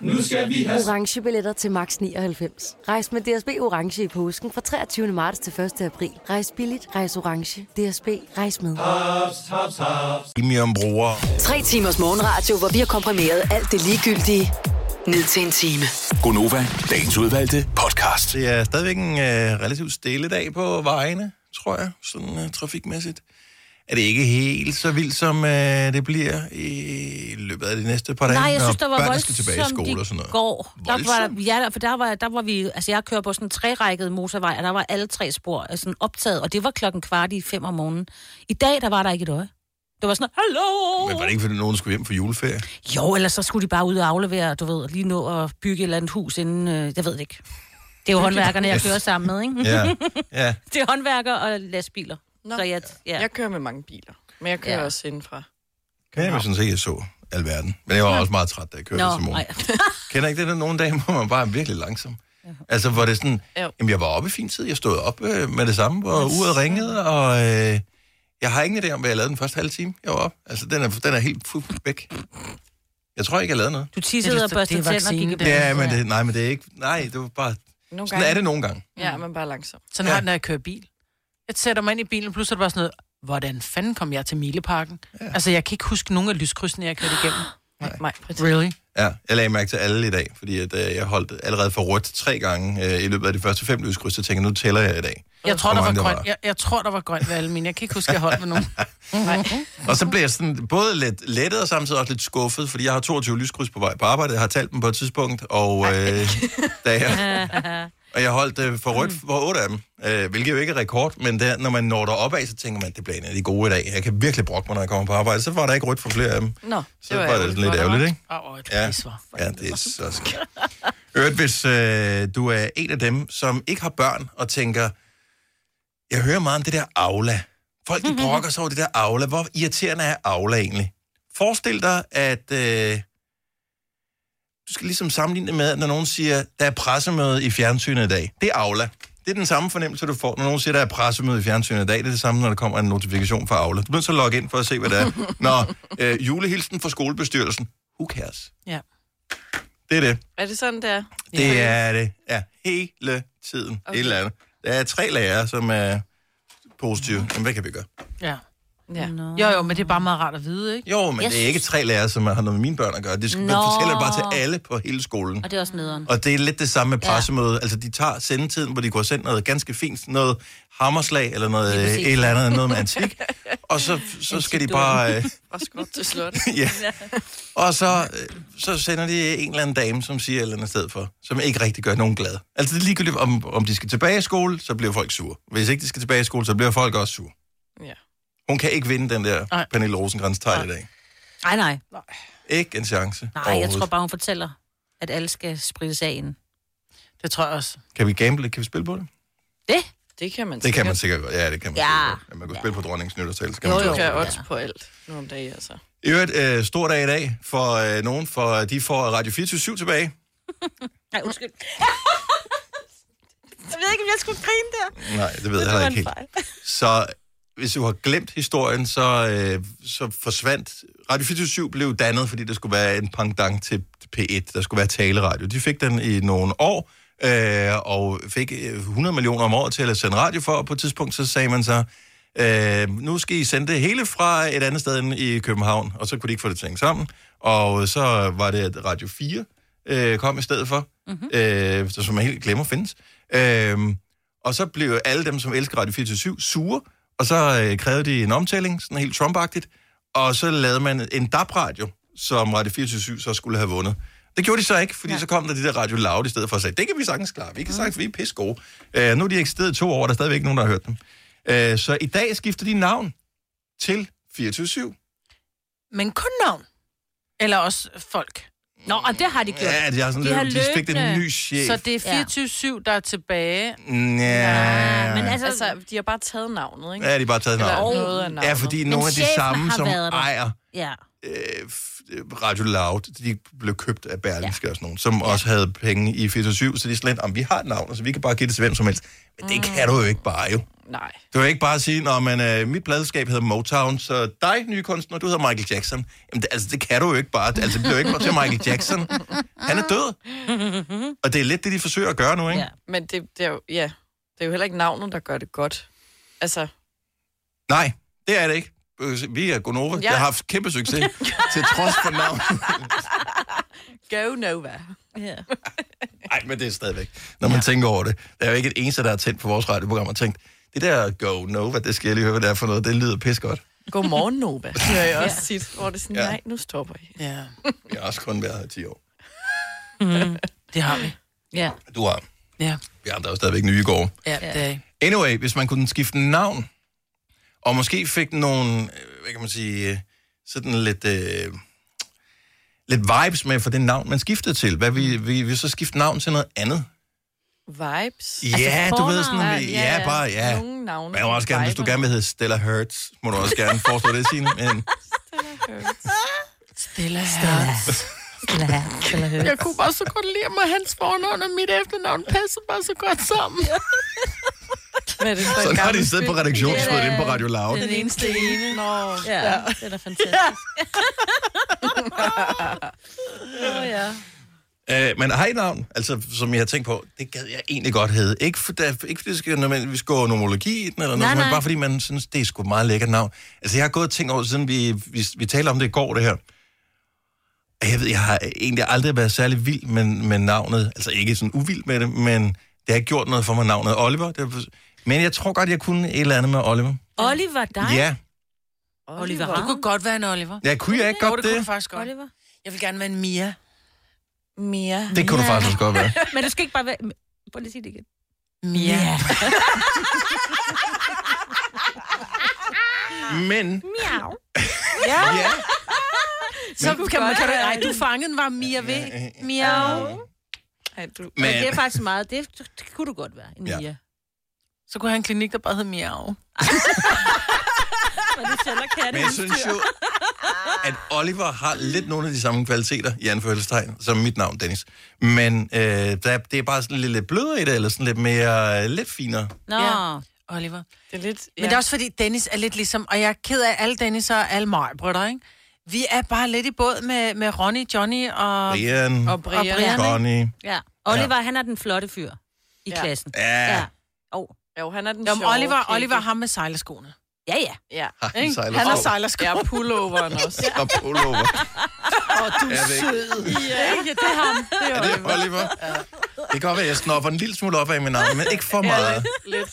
L: Nu skal vi have...
I: Orange billetter til max 99. Rejs med DSB Orange i påsken fra 23. marts til 1. april. Rejs billigt, rejs orange. DSB, rejs med.
L: Ah,
A: Premium-brugere.
F: Tre timers morgenradio, hvor vi har komprimeret alt det ligegyldige ned til en time.
G: Gonova, dagens udvalgte podcast.
A: Det er stadigvæk en øh, relativt stille dag på vejene, tror jeg, sådan øh, trafikmæssigt. Er det ikke helt så vildt, som øh, det bliver i løbet af de næste par dage?
D: Nej, jeg synes,
A: når
D: der var
A: børnene skal tilbage i skole og
D: voldsomt
A: sådan
D: i
A: noget.
D: går. Der var,
A: Voldsomt?
D: der- ja, der- for der var, der var vi... Altså, jeg kører på sådan en trærækket motorvej, og der var alle tre spor øh, sådan optaget, og det var klokken kvart i fem om morgenen. I dag, der var der ikke et øje. Det var sådan,
A: Men var
D: hallo!
A: det ikke, fordi nogen skulle hjem for juleferie?
D: Jo, ellers så skulle de bare ud og aflevere, du ved, og lige nå at bygge et eller andet hus inden... Øh, jeg ved det ikke. Det er jo håndværkerne, jeg kører sammen med, ikke?
A: Ja, ja.
D: Det er håndværker og lastbiler.
B: Nå.
D: Så jeg, ja.
B: Jeg kører med mange biler, men jeg kører
D: Ja.
B: også indenfra.
A: Kan jeg sådan set, jeg så alverden. Men jeg var også meget træt, da jeg kørte til
D: Nå,
A: morgen.
D: nej.
A: Kender ikke det, der er nogle dage, hvor man bare er virkelig langsom? Altså, hvor det er sådan,
B: Jo.
A: jamen, jeg var oppe i fin tid, jeg stod op øh, med det samme, hvor uret ringede, og øh, jeg har ingen idé om, hvad jeg lavede den første halve time, jeg var op. Altså, den er, den er helt fu- væk. Jeg tror ikke, jeg lavede noget.
D: Du tissede og
C: Det er
D: børstede tænder og
C: vaccinen,
D: gik i
C: det
D: bad.
C: er.
A: Ja, men det, nej, men det er ikke, nej, det var bare,
B: Nogle
A: sådan er det nogle gange.
B: Ja, men bare langsomt.
C: Sådan har jeg det, når jeg kører bil. Jeg sætter mig ind i bilen, og pludselig er det bare sådan noget, hvordan fanden kom jeg til Mileparken? Ja. Altså, jeg kan ikke huske nogen af lyskrydsene, jeg kørte igennem.
B: Nej, Britt.
C: Really?
A: Ja, jeg lagde mærke til alle i dag, fordi at, øh, jeg holdt allerede for rødt tre gange øh, i løbet af de første fem lyskryds, så tænker jeg, nu tæller jeg i dag.
C: Jeg tror,
A: Hvor
C: der var
A: mange der
C: grønt.
A: var?
C: Jeg, jeg tror, der var grønt ved alle mine. Jeg kan ikke huske, at jeg holdt med nogen.
A: Og så blev jeg sådan både lidt lettet og samtidig også lidt skuffet, fordi jeg har 22 lyskryds på vej på arbejde. Jeg har talt dem på et tidspunkt, og, øh, da jeg, og jeg holdt øh, for rødt for otte af dem, øh, hvilket jo ikke er rekord, men der, når man når derop af, så tænker man, det bliver en af de gode i dag. Jeg kan virkelig brokke mig, når jeg kommer på arbejde. Så var der ikke rødt for flere af dem.
B: Nå,
A: Så var det sådan lidt ærgerligt, ikke?
C: Åh, oh, det
A: Ja.
C: ja. var.
A: Ja, det er så skidt. Øvrigt, hvis øh, du er en af dem, som ikke har børn og tænker, jeg hører meget om det der Aula. Folk de brokker sig over det der Aula. Hvor irriterende er Aula egentlig? Forestil dig, at øh, du skal ligesom sammenligne det med, at når nogen siger, der er pressemøde i fjernsynet i dag. Det er Aula. Det er den samme fornemmelse, du får, når nogen siger, der er pressemøde i fjernsynet i dag. Det er det samme, når der kommer en notifikation fra Aula. Du bliver så logge ind for at se, hvad det er. Nå, øh, julehilsen fra skolebestyrelsen. Who cares?
C: Ja.
A: Det er det.
B: Er det sådan, det er?
A: Det er det. Ja, hele tiden. Okay. Et eller andet. Der er tre lærere, som er positive. Men hvad kan vi gøre?
C: ja. Ja. Jo, jo, men det er bare meget rart at vide, ikke?
A: Jo, men yes. det er ikke tre lærere, som har noget med mine børn at gøre. Det skal, man
C: Nå.
A: fortæller det bare til alle på hele skolen.
D: Og det er også nederen.
A: Og det er lidt det samme med pressemødet. Ja. Altså, de tager sendetiden, hvor de går sendt noget ganske fint, noget hammerslag eller noget, øh, et eller andet, noget med antik. Og så, så skal de bare... Øh,
B: Fra skot til slot.
A: Ja. og så, øh, så sender de en eller anden dame, som siger et eller andet sted for, som ikke rigtig gør nogen glad. Altså, det er ligegyldigt, om, om de skal tilbage i skole, så bliver folk sure. Hvis ikke de skal tilbage i skole, så bliver folk også sure.
B: Ja.
A: Hun kan ikke vinde den der
D: Nej.
A: Pernille rosenkrantz tegl i dag.
D: Nej, nej.
A: Ikke en chance
D: Nej, jeg tror bare, hun fortæller, at alle skal sprittes af inden.
C: Det tror jeg også.
A: Kan vi gamble? Kan vi spille på det?
D: Det?
B: Det kan man
A: Det kan man sikkert godt. Ja, det kan man
B: Ja.
A: sikkert godt. Ja, man kan spille på dronningens nytårstale. så kan
B: Jo,
A: man
B: jo. Du
A: også
B: kan
A: godt.
B: odds på alt nu om dagen, altså.
A: I øvrigt, øh, stor dag i dag for øh, nogen, for øh, de får Radio 24 tilbage.
D: Nej, undskyld. jeg ved ikke, om jeg skulle grine der.
A: Nej, det ved jeg heller ikke helt. Så hvis du har glemt historien, så, øh, så forsvandt... Radio 24 blev dannet, fordi der skulle være en pangdang til P1. Der skulle være taleradio. De fik den i nogle år, øh, og fik øh, 100 millioner om året til at sende radio for, og på et tidspunkt så sagde man så, øh, nu skal I sende det hele fra et andet sted end i København, og så kunne de ikke få det tænkt sammen. Og så var det, at Radio 4 øh, kom i stedet for, mm-hmm. øh, som man helt glemmer findes. Øh, og så blev alle dem, som elsker Radio 24 sure, og så øh, krævede de en omtælling, sådan helt trump og så lavede man en DAB-radio, som Radio 24 så skulle have vundet. Det gjorde de så ikke, fordi ja. så kom der de der Radio Loud i stedet for at sige, det kan vi sagtens klare, vi kan sagtens, vi er pisse gode. Øh, nu er de eksisteret i to år, og der er stadigvæk ikke nogen, der har hørt dem. Øh, så i dag skifter de navn til 24
C: Men kun navn. Eller også folk. Nå, og det har de gjort.
A: Ja, de har sådan lidt- de fik den
C: løbende.
A: nye chef.
C: Så det er 24-7, der er tilbage.
A: Ja.
B: Men altså, altså, de har bare taget navnet, ikke?
A: Ja, de har bare taget
B: Eller
A: navnet.
B: noget af navnet.
A: Ja, fordi
B: Men
A: nogle af de
B: chefen
A: samme,
B: har
A: som
B: været der.
A: ejer
D: Ja.
A: øh, f- øh, Radio Loud, de blev købt af Berlingske ja. og sådan nogen, som ja. også havde penge i 24, så de slet, om vi har et navn, så vi kan bare give det til hvem som helst. Men det mm. kan du jo ikke bare, jo.
B: Nej.
A: Du kan ikke bare sige, når man, øh, mit pladeskab hedder Motown, så dig, nye kunstner, du hedder Michael Jackson. Jamen, det, altså, det kan du jo ikke bare. Altså, det bliver jo ikke bare til Michael Jackson. Han er død, og det er lidt det, de forsøger at gøre nu, ikke? Ja.
B: Men det, det, er jo, ja, det er jo heller ikke navnet, der gør det godt. Altså,
A: Nej, det er det ikke. Øh, Vi er Gonova. Ja.
B: Ja.
A: Jeg har haft kæmpe succes, til trods for navn.
B: go Nova.
D: Ja.
A: Nej, men det er stadigvæk. Når man ja. tænker over det. Der er jo ikke et eneste, der har tændt på vores radioprogram og tænkt, det der Go Nova, det skal jeg lige høre, hvad det er for noget. Det lyder pis godt.
B: Godmorgen, Nova. Det hører jeg også tit, hvor det er sådan,
A: Ja.
B: nej, nu stopper I.
C: Ja.
A: Vi har også kun været her i 10 år.
C: Mm, det har vi. Ja.
A: Du har.
C: Ja.
A: Vi andre er jo stadigvæk nye i går.
C: Ja, det er
A: Anyway, hvis man kunne skifte navn, og måske fik nogle, øh, hvad kan man sige, øh, sådan lidt, øh, lidt vibes med for det navn, man skiftede til. Hvad vi, vi, vi så skifte navn til noget andet.
B: Vibes. Altså,
A: Ja, du ved sådan, ja, Altså, ja, bare, ja.
B: Nogle navne.
A: Men jeg må også gerne, hvis du gerne vil hedde Stella Hertz, må du også gerne foreslå det, Signe. Men
C: Stella Hertz.
D: Stella
C: Hertz. Jeg kunne bare så godt lide mig hans fornavn og mit efternavn passer bare så godt sammen.
B: Hvad er det for
A: Så
B: et
A: nu har de
B: gammelt
A: siddet på
B: stykke?
A: redaktionsmødet inde på Radio Loud.
B: Den eneste ene. Nå,
D: Ja,
B: ja.
D: det er da fantastisk. Åh, ja.
A: Øh, men har I et navn, altså, som jeg har tænkt på, det gad jeg egentlig godt hedde. Ikke, for, der, ikke fordi det skal, når man, vi skal gå nomologi i den, eller noget,
M: Nej,
A: nej, nej. men
M: nej.
A: bare fordi man synes, det er sgu et meget lækkert navn. Altså, jeg har gået og tænkt over, siden vi, vi, vi taler om det i går, det her. Og Jeg ved, jeg har egentlig aldrig været særlig vild med, med navnet. Altså, ikke sådan uvild med det, men det har gjort noget for mig, navnet Oliver. Det, er- men jeg tror godt, jeg kunne et eller andet med Oliver.
D: Oliver, dig?
A: Ja,
D: Oliver.
C: Du kunne godt være en Oliver.
A: ja kunne jeg ikke godt
C: det? kunne du
A: det?
C: faktisk godt.
D: Oliver.
C: Jeg vil gerne være en Mia.
B: Mia.
A: Det kunne du faktisk også godt være.
D: Men du skal ikke bare være... Prøv lige at sige det igen.
C: Mia.
A: Men...
D: Miau.
C: Ja.
A: ja.
C: Så
D: Men-
C: kan man... Kan du, ej, du fangede den var Mia V. Miau.
B: Ej, du...
D: Men... Det er faktisk meget... Det, det kunne du godt være, en
C: Ja.
D: Mia.
C: Så kunne jeg have en klinik, der bare hed Miau.
D: Og det sælger katte.
A: Men jeg synes jo, at Oliver har lidt nogle af de samme kvaliteter, i anførselstegn, som mit navn, Dennis. Men øh, der, det er bare sådan lidt, lidt blødere i det, eller sådan lidt mere, øh, lidt finere.
C: Nå. Ja. Oliver.
B: Det er lidt...
C: Men det er også fordi, Dennis er lidt ligesom... Og jeg er ked af alle Dennis og alle mig, brødre, ikke? Vi er bare lidt i båd med, med Ronny, Johnny og...
A: Brian,
C: Og Brian. ikke?
A: Connie.
D: Ja. Oliver, ja. han er den flotte fyr i
C: Ja.
D: klassen.
A: Ja.
D: Oh.
B: Jo, han er den
C: Jamen,
B: sjove
C: Oliver,
B: kække.
C: Oliver ham med sejlerskoene.
D: Ja, ja.
B: Ja.
A: Har han sejlersko?
B: Han har sejlersko. Ja, pulloveren også.
A: Og pullover.
B: Åh, oh, du
A: er væk.
B: sød. Ja, ikke? det er ham. Det
A: Er det Oliver? Det kan godt være, at jeg snopper en lille smule op af min arm, men ikke for meget.
B: Lidt.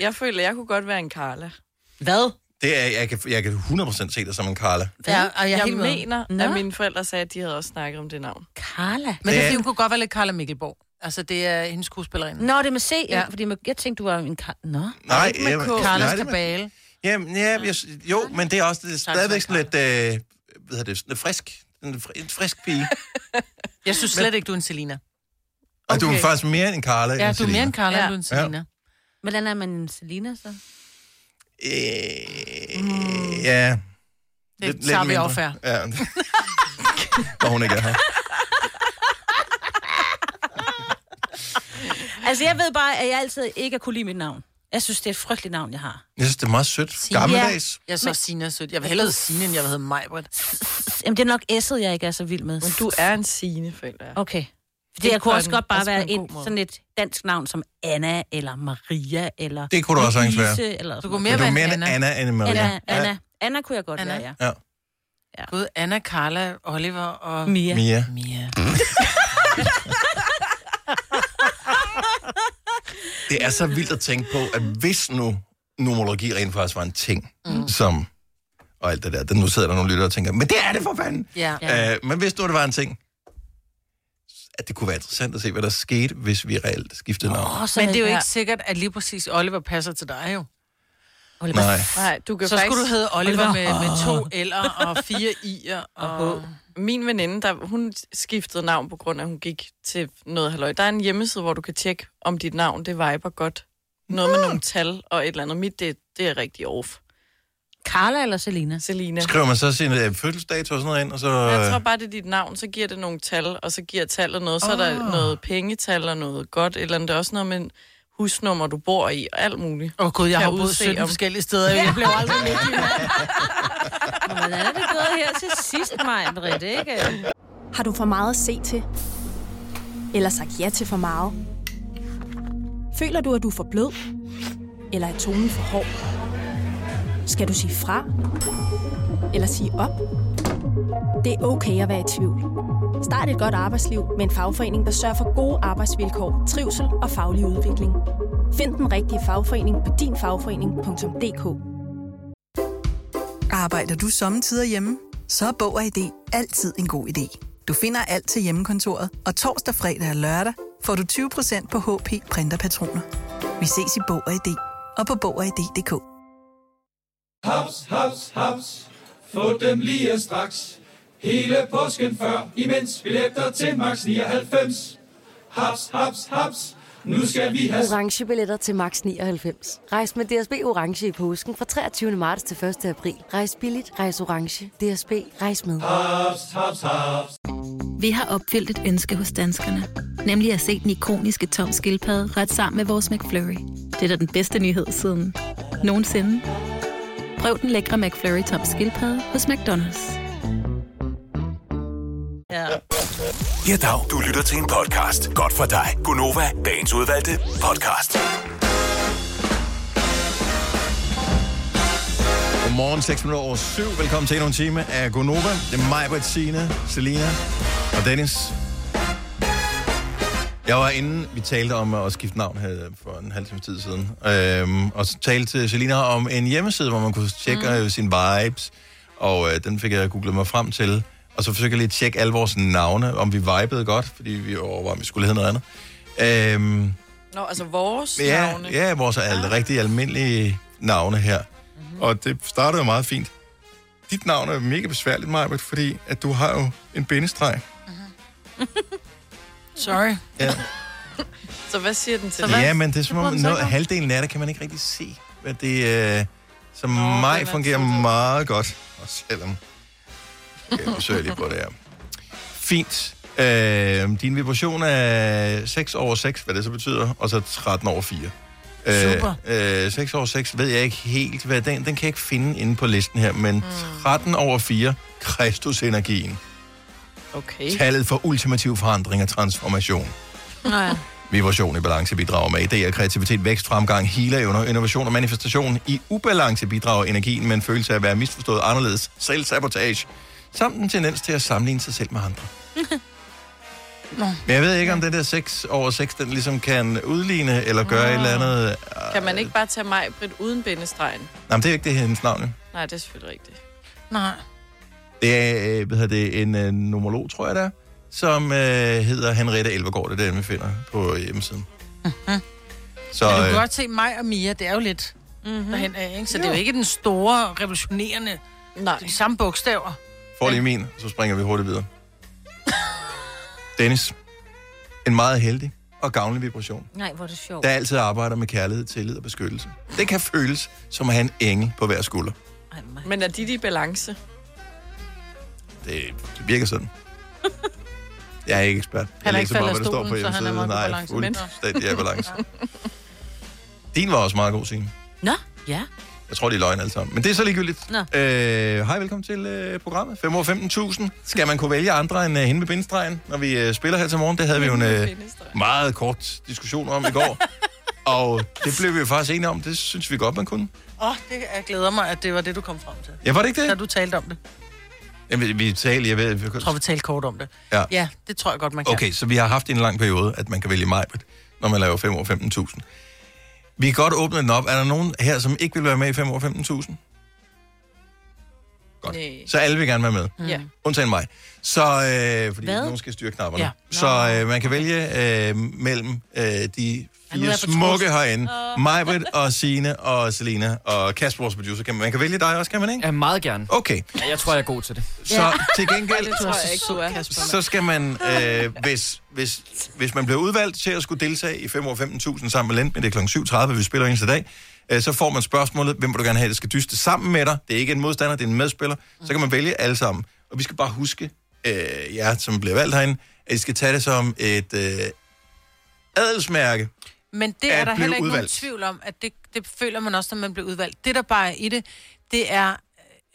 B: Jeg føler, jeg kunne godt være en Carla.
D: Hvad?
A: Det er, jeg kan, jeg kan 100% se dig som en Carla.
C: Ja,
B: og jeg,
C: er
B: jeg
C: helt med.
B: mener,
C: Nå.
B: at mine forældre sagde, at de havde også snakket om det navn.
D: Carla.
C: Men det,
A: Det-
C: det hun kunne godt være lidt Carla Mikkelborg. Altså, det er hendes skuespillerinde.
D: Nå, det er med C, ja.
C: Ja.
D: fordi med, jeg tænkte, du var en kar... Nå.
A: Nej,
C: Ikke med
A: jeg-
C: K.
A: nej,
C: Carlas
A: det er med-
C: Kabale.
A: Jamen, ja, jeg, jo, men det er også det er stadigvæk sådan lidt, øh, hvad hedder det, sådan lidt frisk. En, fri- en frisk pige.
C: Jeg synes slet ikke, du er en Selina.
A: Okay. Og du er
C: Okay.
A: faktisk mere en Carla
C: Ja,
A: end
C: du er mere en Carla,
D: Ja.
C: ja. end du er en Selina. Ja.
D: Hvordan er man en Selina så?
A: Øh, ja.
C: Det tager vi
A: mindre.
C: off air.
A: Ja. Når hun ikke er her.
D: Altså, jeg ved bare, at jeg altid ikke har kunne lide mit navn. Jeg synes, det er et frygteligt navn, jeg har.
A: Jeg synes, det er meget sødt. Gammeldags.
C: Jeg så Sina sødt. Jeg vil hellere hedde Sina, end jeg vil hedde Majbert.
D: Jamen, det er nok S'et, jeg ikke er så vild med.
B: Men du er en sine, føler jeg.
D: Okay. Fordi
B: Det
D: jeg kunne
B: er
D: også
B: på en-
D: godt bare
B: også på
D: være
B: en
D: en,
B: god måde.
D: sådan et dansk navn som Anna, eller Maria, eller...
A: Det kunne du også sagtens
D: Louise,
A: være.
D: Eller
C: Du kunne
A: Men
C: mere
A: du er
C: være
A: mere
C: en
A: en
C: Anna.
A: Anna end en Maria.
D: Anna, Anna. Anna kunne jeg godt
C: Anna.
D: være, ja.
A: Ja.
C: Både Anna, Carla, Oliver og...
D: Mia.
A: Mia.
C: Mia.
A: Det er så vildt at tænke på, at hvis nu numerologi rent faktisk var en ting, mm. som... Og alt det der. Nu sidder der nogle lyttere og tænker, men det er det for fanden!
C: Ja.
A: Ja. Øh, men hvis nu det var en ting, at det kunne være interessant at se, hvad der skete, hvis vi reelt skiftede navn.
D: Åh, så
C: Men det er jo
D: havde-
C: ikke sikkert, at lige præcis Oliver passer til dig jo.
D: Oliver.
A: Nej.
B: Nej, du kan
C: Så
B: faktisk...
C: skulle du hedde Oliver
D: Oliver.
C: med, med to L'er og fire I'er og...
B: Min veninde, der, hun skiftede navn på grund af, at hun gik til noget halløj. Der er en hjemmeside, hvor du kan tjekke, om dit navn, det viber godt. Noget med nogle tal og et eller andet. Mit, det, det er rigtig off.
D: Carla eller Selina?
B: Selina.
A: Skriver man så sin øh, fødselsdato og sådan noget ind, og øh, så...
B: Jeg tror bare, det er dit navn, så giver det nogle tal, og så giver tallet noget. Så er der
A: Ah.
B: noget pengetal og noget godt, eller andet. det er også noget med en husnummer, du bor i, og alt muligt.
C: Åh oh, gud, jeg
B: Kan
C: har boet
B: udse
C: 17
B: om-
C: forskellige steder. Jeg blev aldrig lykkelig.
D: Nå, Hvordan er det gået her til sidst, mig, Britt, ikke?
M: Har du for meget at se til? Eller sagt ja til for meget? Føler du, at du er for blød? Eller er tonen for hård? Skal du sige fra? Eller sige op? Det er okay at være i tvivl. Start et godt arbejdsliv med en fagforening, der sørger for gode arbejdsvilkår, trivsel og faglig udvikling. Find den rigtige fagforening på dinfagforening.dk.
N: Arbejder du sommetider hjemme? Så er Bog og ID altid en god idé. Du finder alt til hjemmekontoret, og torsdag, fredag og lørdag får du 20% på HP Printerpatroner. Vi ses i Bog og ID og på Bog og ID.dk.
L: Haps, haps, haps. Få dem lige straks. Hele påsken før, imens billetter til max 99. Haps, haps, haps. Nu skal vi have
I: Orange billetter til max 99. Rejs med DSB Orange i påsken fra 23. marts til 1. april. Rejs billigt, rejs orange. DSB, rejs med.
L: Ah, haps, haps, haps.
O: Vi har opfyldt et ønske hos danskerne. Nemlig at se den ikoniske tom skildpadde ret sammen med vores McFlurry. Det er da den bedste nyhed siden nogensinde. Prøv den lækre McFlurry tom skildpadde hos McDonald's.
D: Ja.
G: Ja, dag. Du lytter til en podcast. Godt for dig. Gunova, dagens udvalgte podcast.
A: øh, Godmorgen, 6 minutter over 7. Velkommen til endnu en time af Gonova. Det er mig, Britt, Signe, Selina og Dennis. Jeg var inde, vi talte om at skifte navn her for en halv times tid siden, øhm, og så talte til Selina om en hjemmeside, hvor man kunne tjekke mm. sine vibes, og øh, den fik jeg googlet mig frem til. Og så forsøgte jeg lige at tjekke alle vores navne, om vi vibede godt, fordi vi overvejede, om vi skulle hedde noget andet. Øhm,
B: Nå, altså vores
A: ja,
B: navne.
A: Ja, vores al- rigtig almindelige navne her. Mm-hmm. Og det startede jo meget fint. Dit navn er mega besværligt, Majbert, fordi at du har jo en bindestreg.
C: Sorry.
A: Ja,
B: Så hvad siger den til
A: ja men det er som
B: prøver
A: om,
B: den så
A: noget,
B: ikke om.
A: halvdelen af det kan man ikke rigtig se. Hvad det, øh, som oh, mig fungerer meget godt. Og selvom... Okay, nu søger jeg lige på det her. Fint. Øh, din vibration er 6 over 6, hvad det så betyder, og så 13 over 4.
C: Super.
A: Øh, øh, 6 over 6 ved jeg ikke helt, hvad den, den kan jeg ikke finde inde på listen her, men 13 over 4, Kristusenergien.
B: Okay.
A: Tallet for ultimativ forandring og transformation.
C: Nå ja.
A: Vibration i balance bidrager med idéer, kreativitet, vækst, fremgang, hele evner, innovation og manifestation. I ubalance bidrager energien med en følelse af at være misforstået anderledes, selvsabotage, samt en tendens til at sammenligne sig selv med andre.
C: Nå.
A: Men jeg ved ikke, om den der 6 over 6, den ligesom kan udligne eller gøre et
C: Ah.
A: eller andet.
B: Kan man ikke bare tage mig, Britt, uden bindestregen?
A: Nej, men det er jo ikke det her hendes navn. jo.
B: Nej, det er selvfølgelig rigtigt.
C: Nej.
A: Det er, øh, hvad hedder det, en øh, nomolog, tror jeg det er, som øh, hedder Henriette Elvergaard, det er den, vi finder på hjemmesiden. Så,
C: Men Mhm. du
A: øh,
C: kan godt se mig og Mia, det er jo lidt mm-hmm. derhen af, ikke? Så det er jo ikke den store, revolutionerende...
B: Nej.
C: Det er de samme bogstaver.
A: Får lige min, så springer vi hurtigt videre. Dennis. En meget heldig og gavnlig vibration,
D: Nej, hvor er det sjovt.
A: der altid arbejder med kærlighed, tillid og beskyttelse. Det kan føles som at have en engel på hver skulder.
B: Men er dit i balance?
A: Det, det virker sådan. Jeg er ikke ekspert. Jeg
B: Han er ikke
A: læser bare,
B: faldet af
A: hvad der står på
B: stolen, så han er
A: hjemmesiden.
B: meget på
A: Nej,
B: balance, men-
A: fuldstændig af balance. Din var også meget god, Signe.
D: Nå, ja.
A: Jeg tror, de er løgn alle sammen. Men det er så ligegyldigt.
D: Nå.
A: Øh, Hej, velkommen til øh, programmet. 5 over 15.000. Skal man kunne vælge andre end øh, hende med bindestregen, når vi øh, spiller her til morgen? Det havde vi jo en øh, meget kort diskussion om i går. Og det blev vi jo faktisk enige om. Det synes vi godt, man kunne.
C: Åh, oh, det jeg glæder mig, at det var det, du kom frem til.
A: Ja, var det ikke det?
C: Da du talte om det.
A: Jamen, vi- vi talte, jeg ved... Jeg tror,
C: vi talte kort om det.
A: Ja.
C: Ja, det tror jeg godt, man kan.
A: Okay, så vi har haft en lang periode, at man kan vælge mig, når man laver 5 over 15.000. Vi kan godt åbne den op. Er der nogen her, som ikke vil være med i 5 over 15.000?
B: Godt. Nej.
A: Så alle vil gerne være med.
B: Ja.
A: Undtagen mig. Så, øh, fordi
B: Hvad?
A: Hvad? nogen skal styre knapperne.
B: Ja.
A: Ja.
B: Nå.
A: Så øh, man kan vælge øh, mellem øh, de
B: nu er
A: fire
B: jeg fortrudt.
A: smukke herinde. Oh. Majbrit og Sine og Selina og Kasper, vores producer. Kan man, man kan vælge dig også, kan man ikke?
E: Ja, meget gerne.
A: Okay.
E: Ja, jeg tror, jeg er god til det.
A: Så ja. til gengæld,
B: Det tror jeg ikke, du er.
A: så skal man, øh, hvis, hvis, hvis man bliver udvalgt til at skulle deltage i 5 år 15.000 sammen med Lent, men det er kl. 7.30, vi spiller eneste dag, øh, så får man spørgsmålet, hvem vil du gerne have, der skal dyste sammen med dig? Det er ikke en modstander, det er en medspiller. Så kan man vælge alle sammen. Og vi skal bare huske, øh, jer, som bliver valgt herinde, at I skal tage det som et øh, adelsmærke.
C: Men det er
A: At
C: der
A: blive
C: heller ikke nogen
A: udvalgt.
C: tvivl om, at det, det føler man også, når man bliver udvalgt. Det, der bare er i det, det er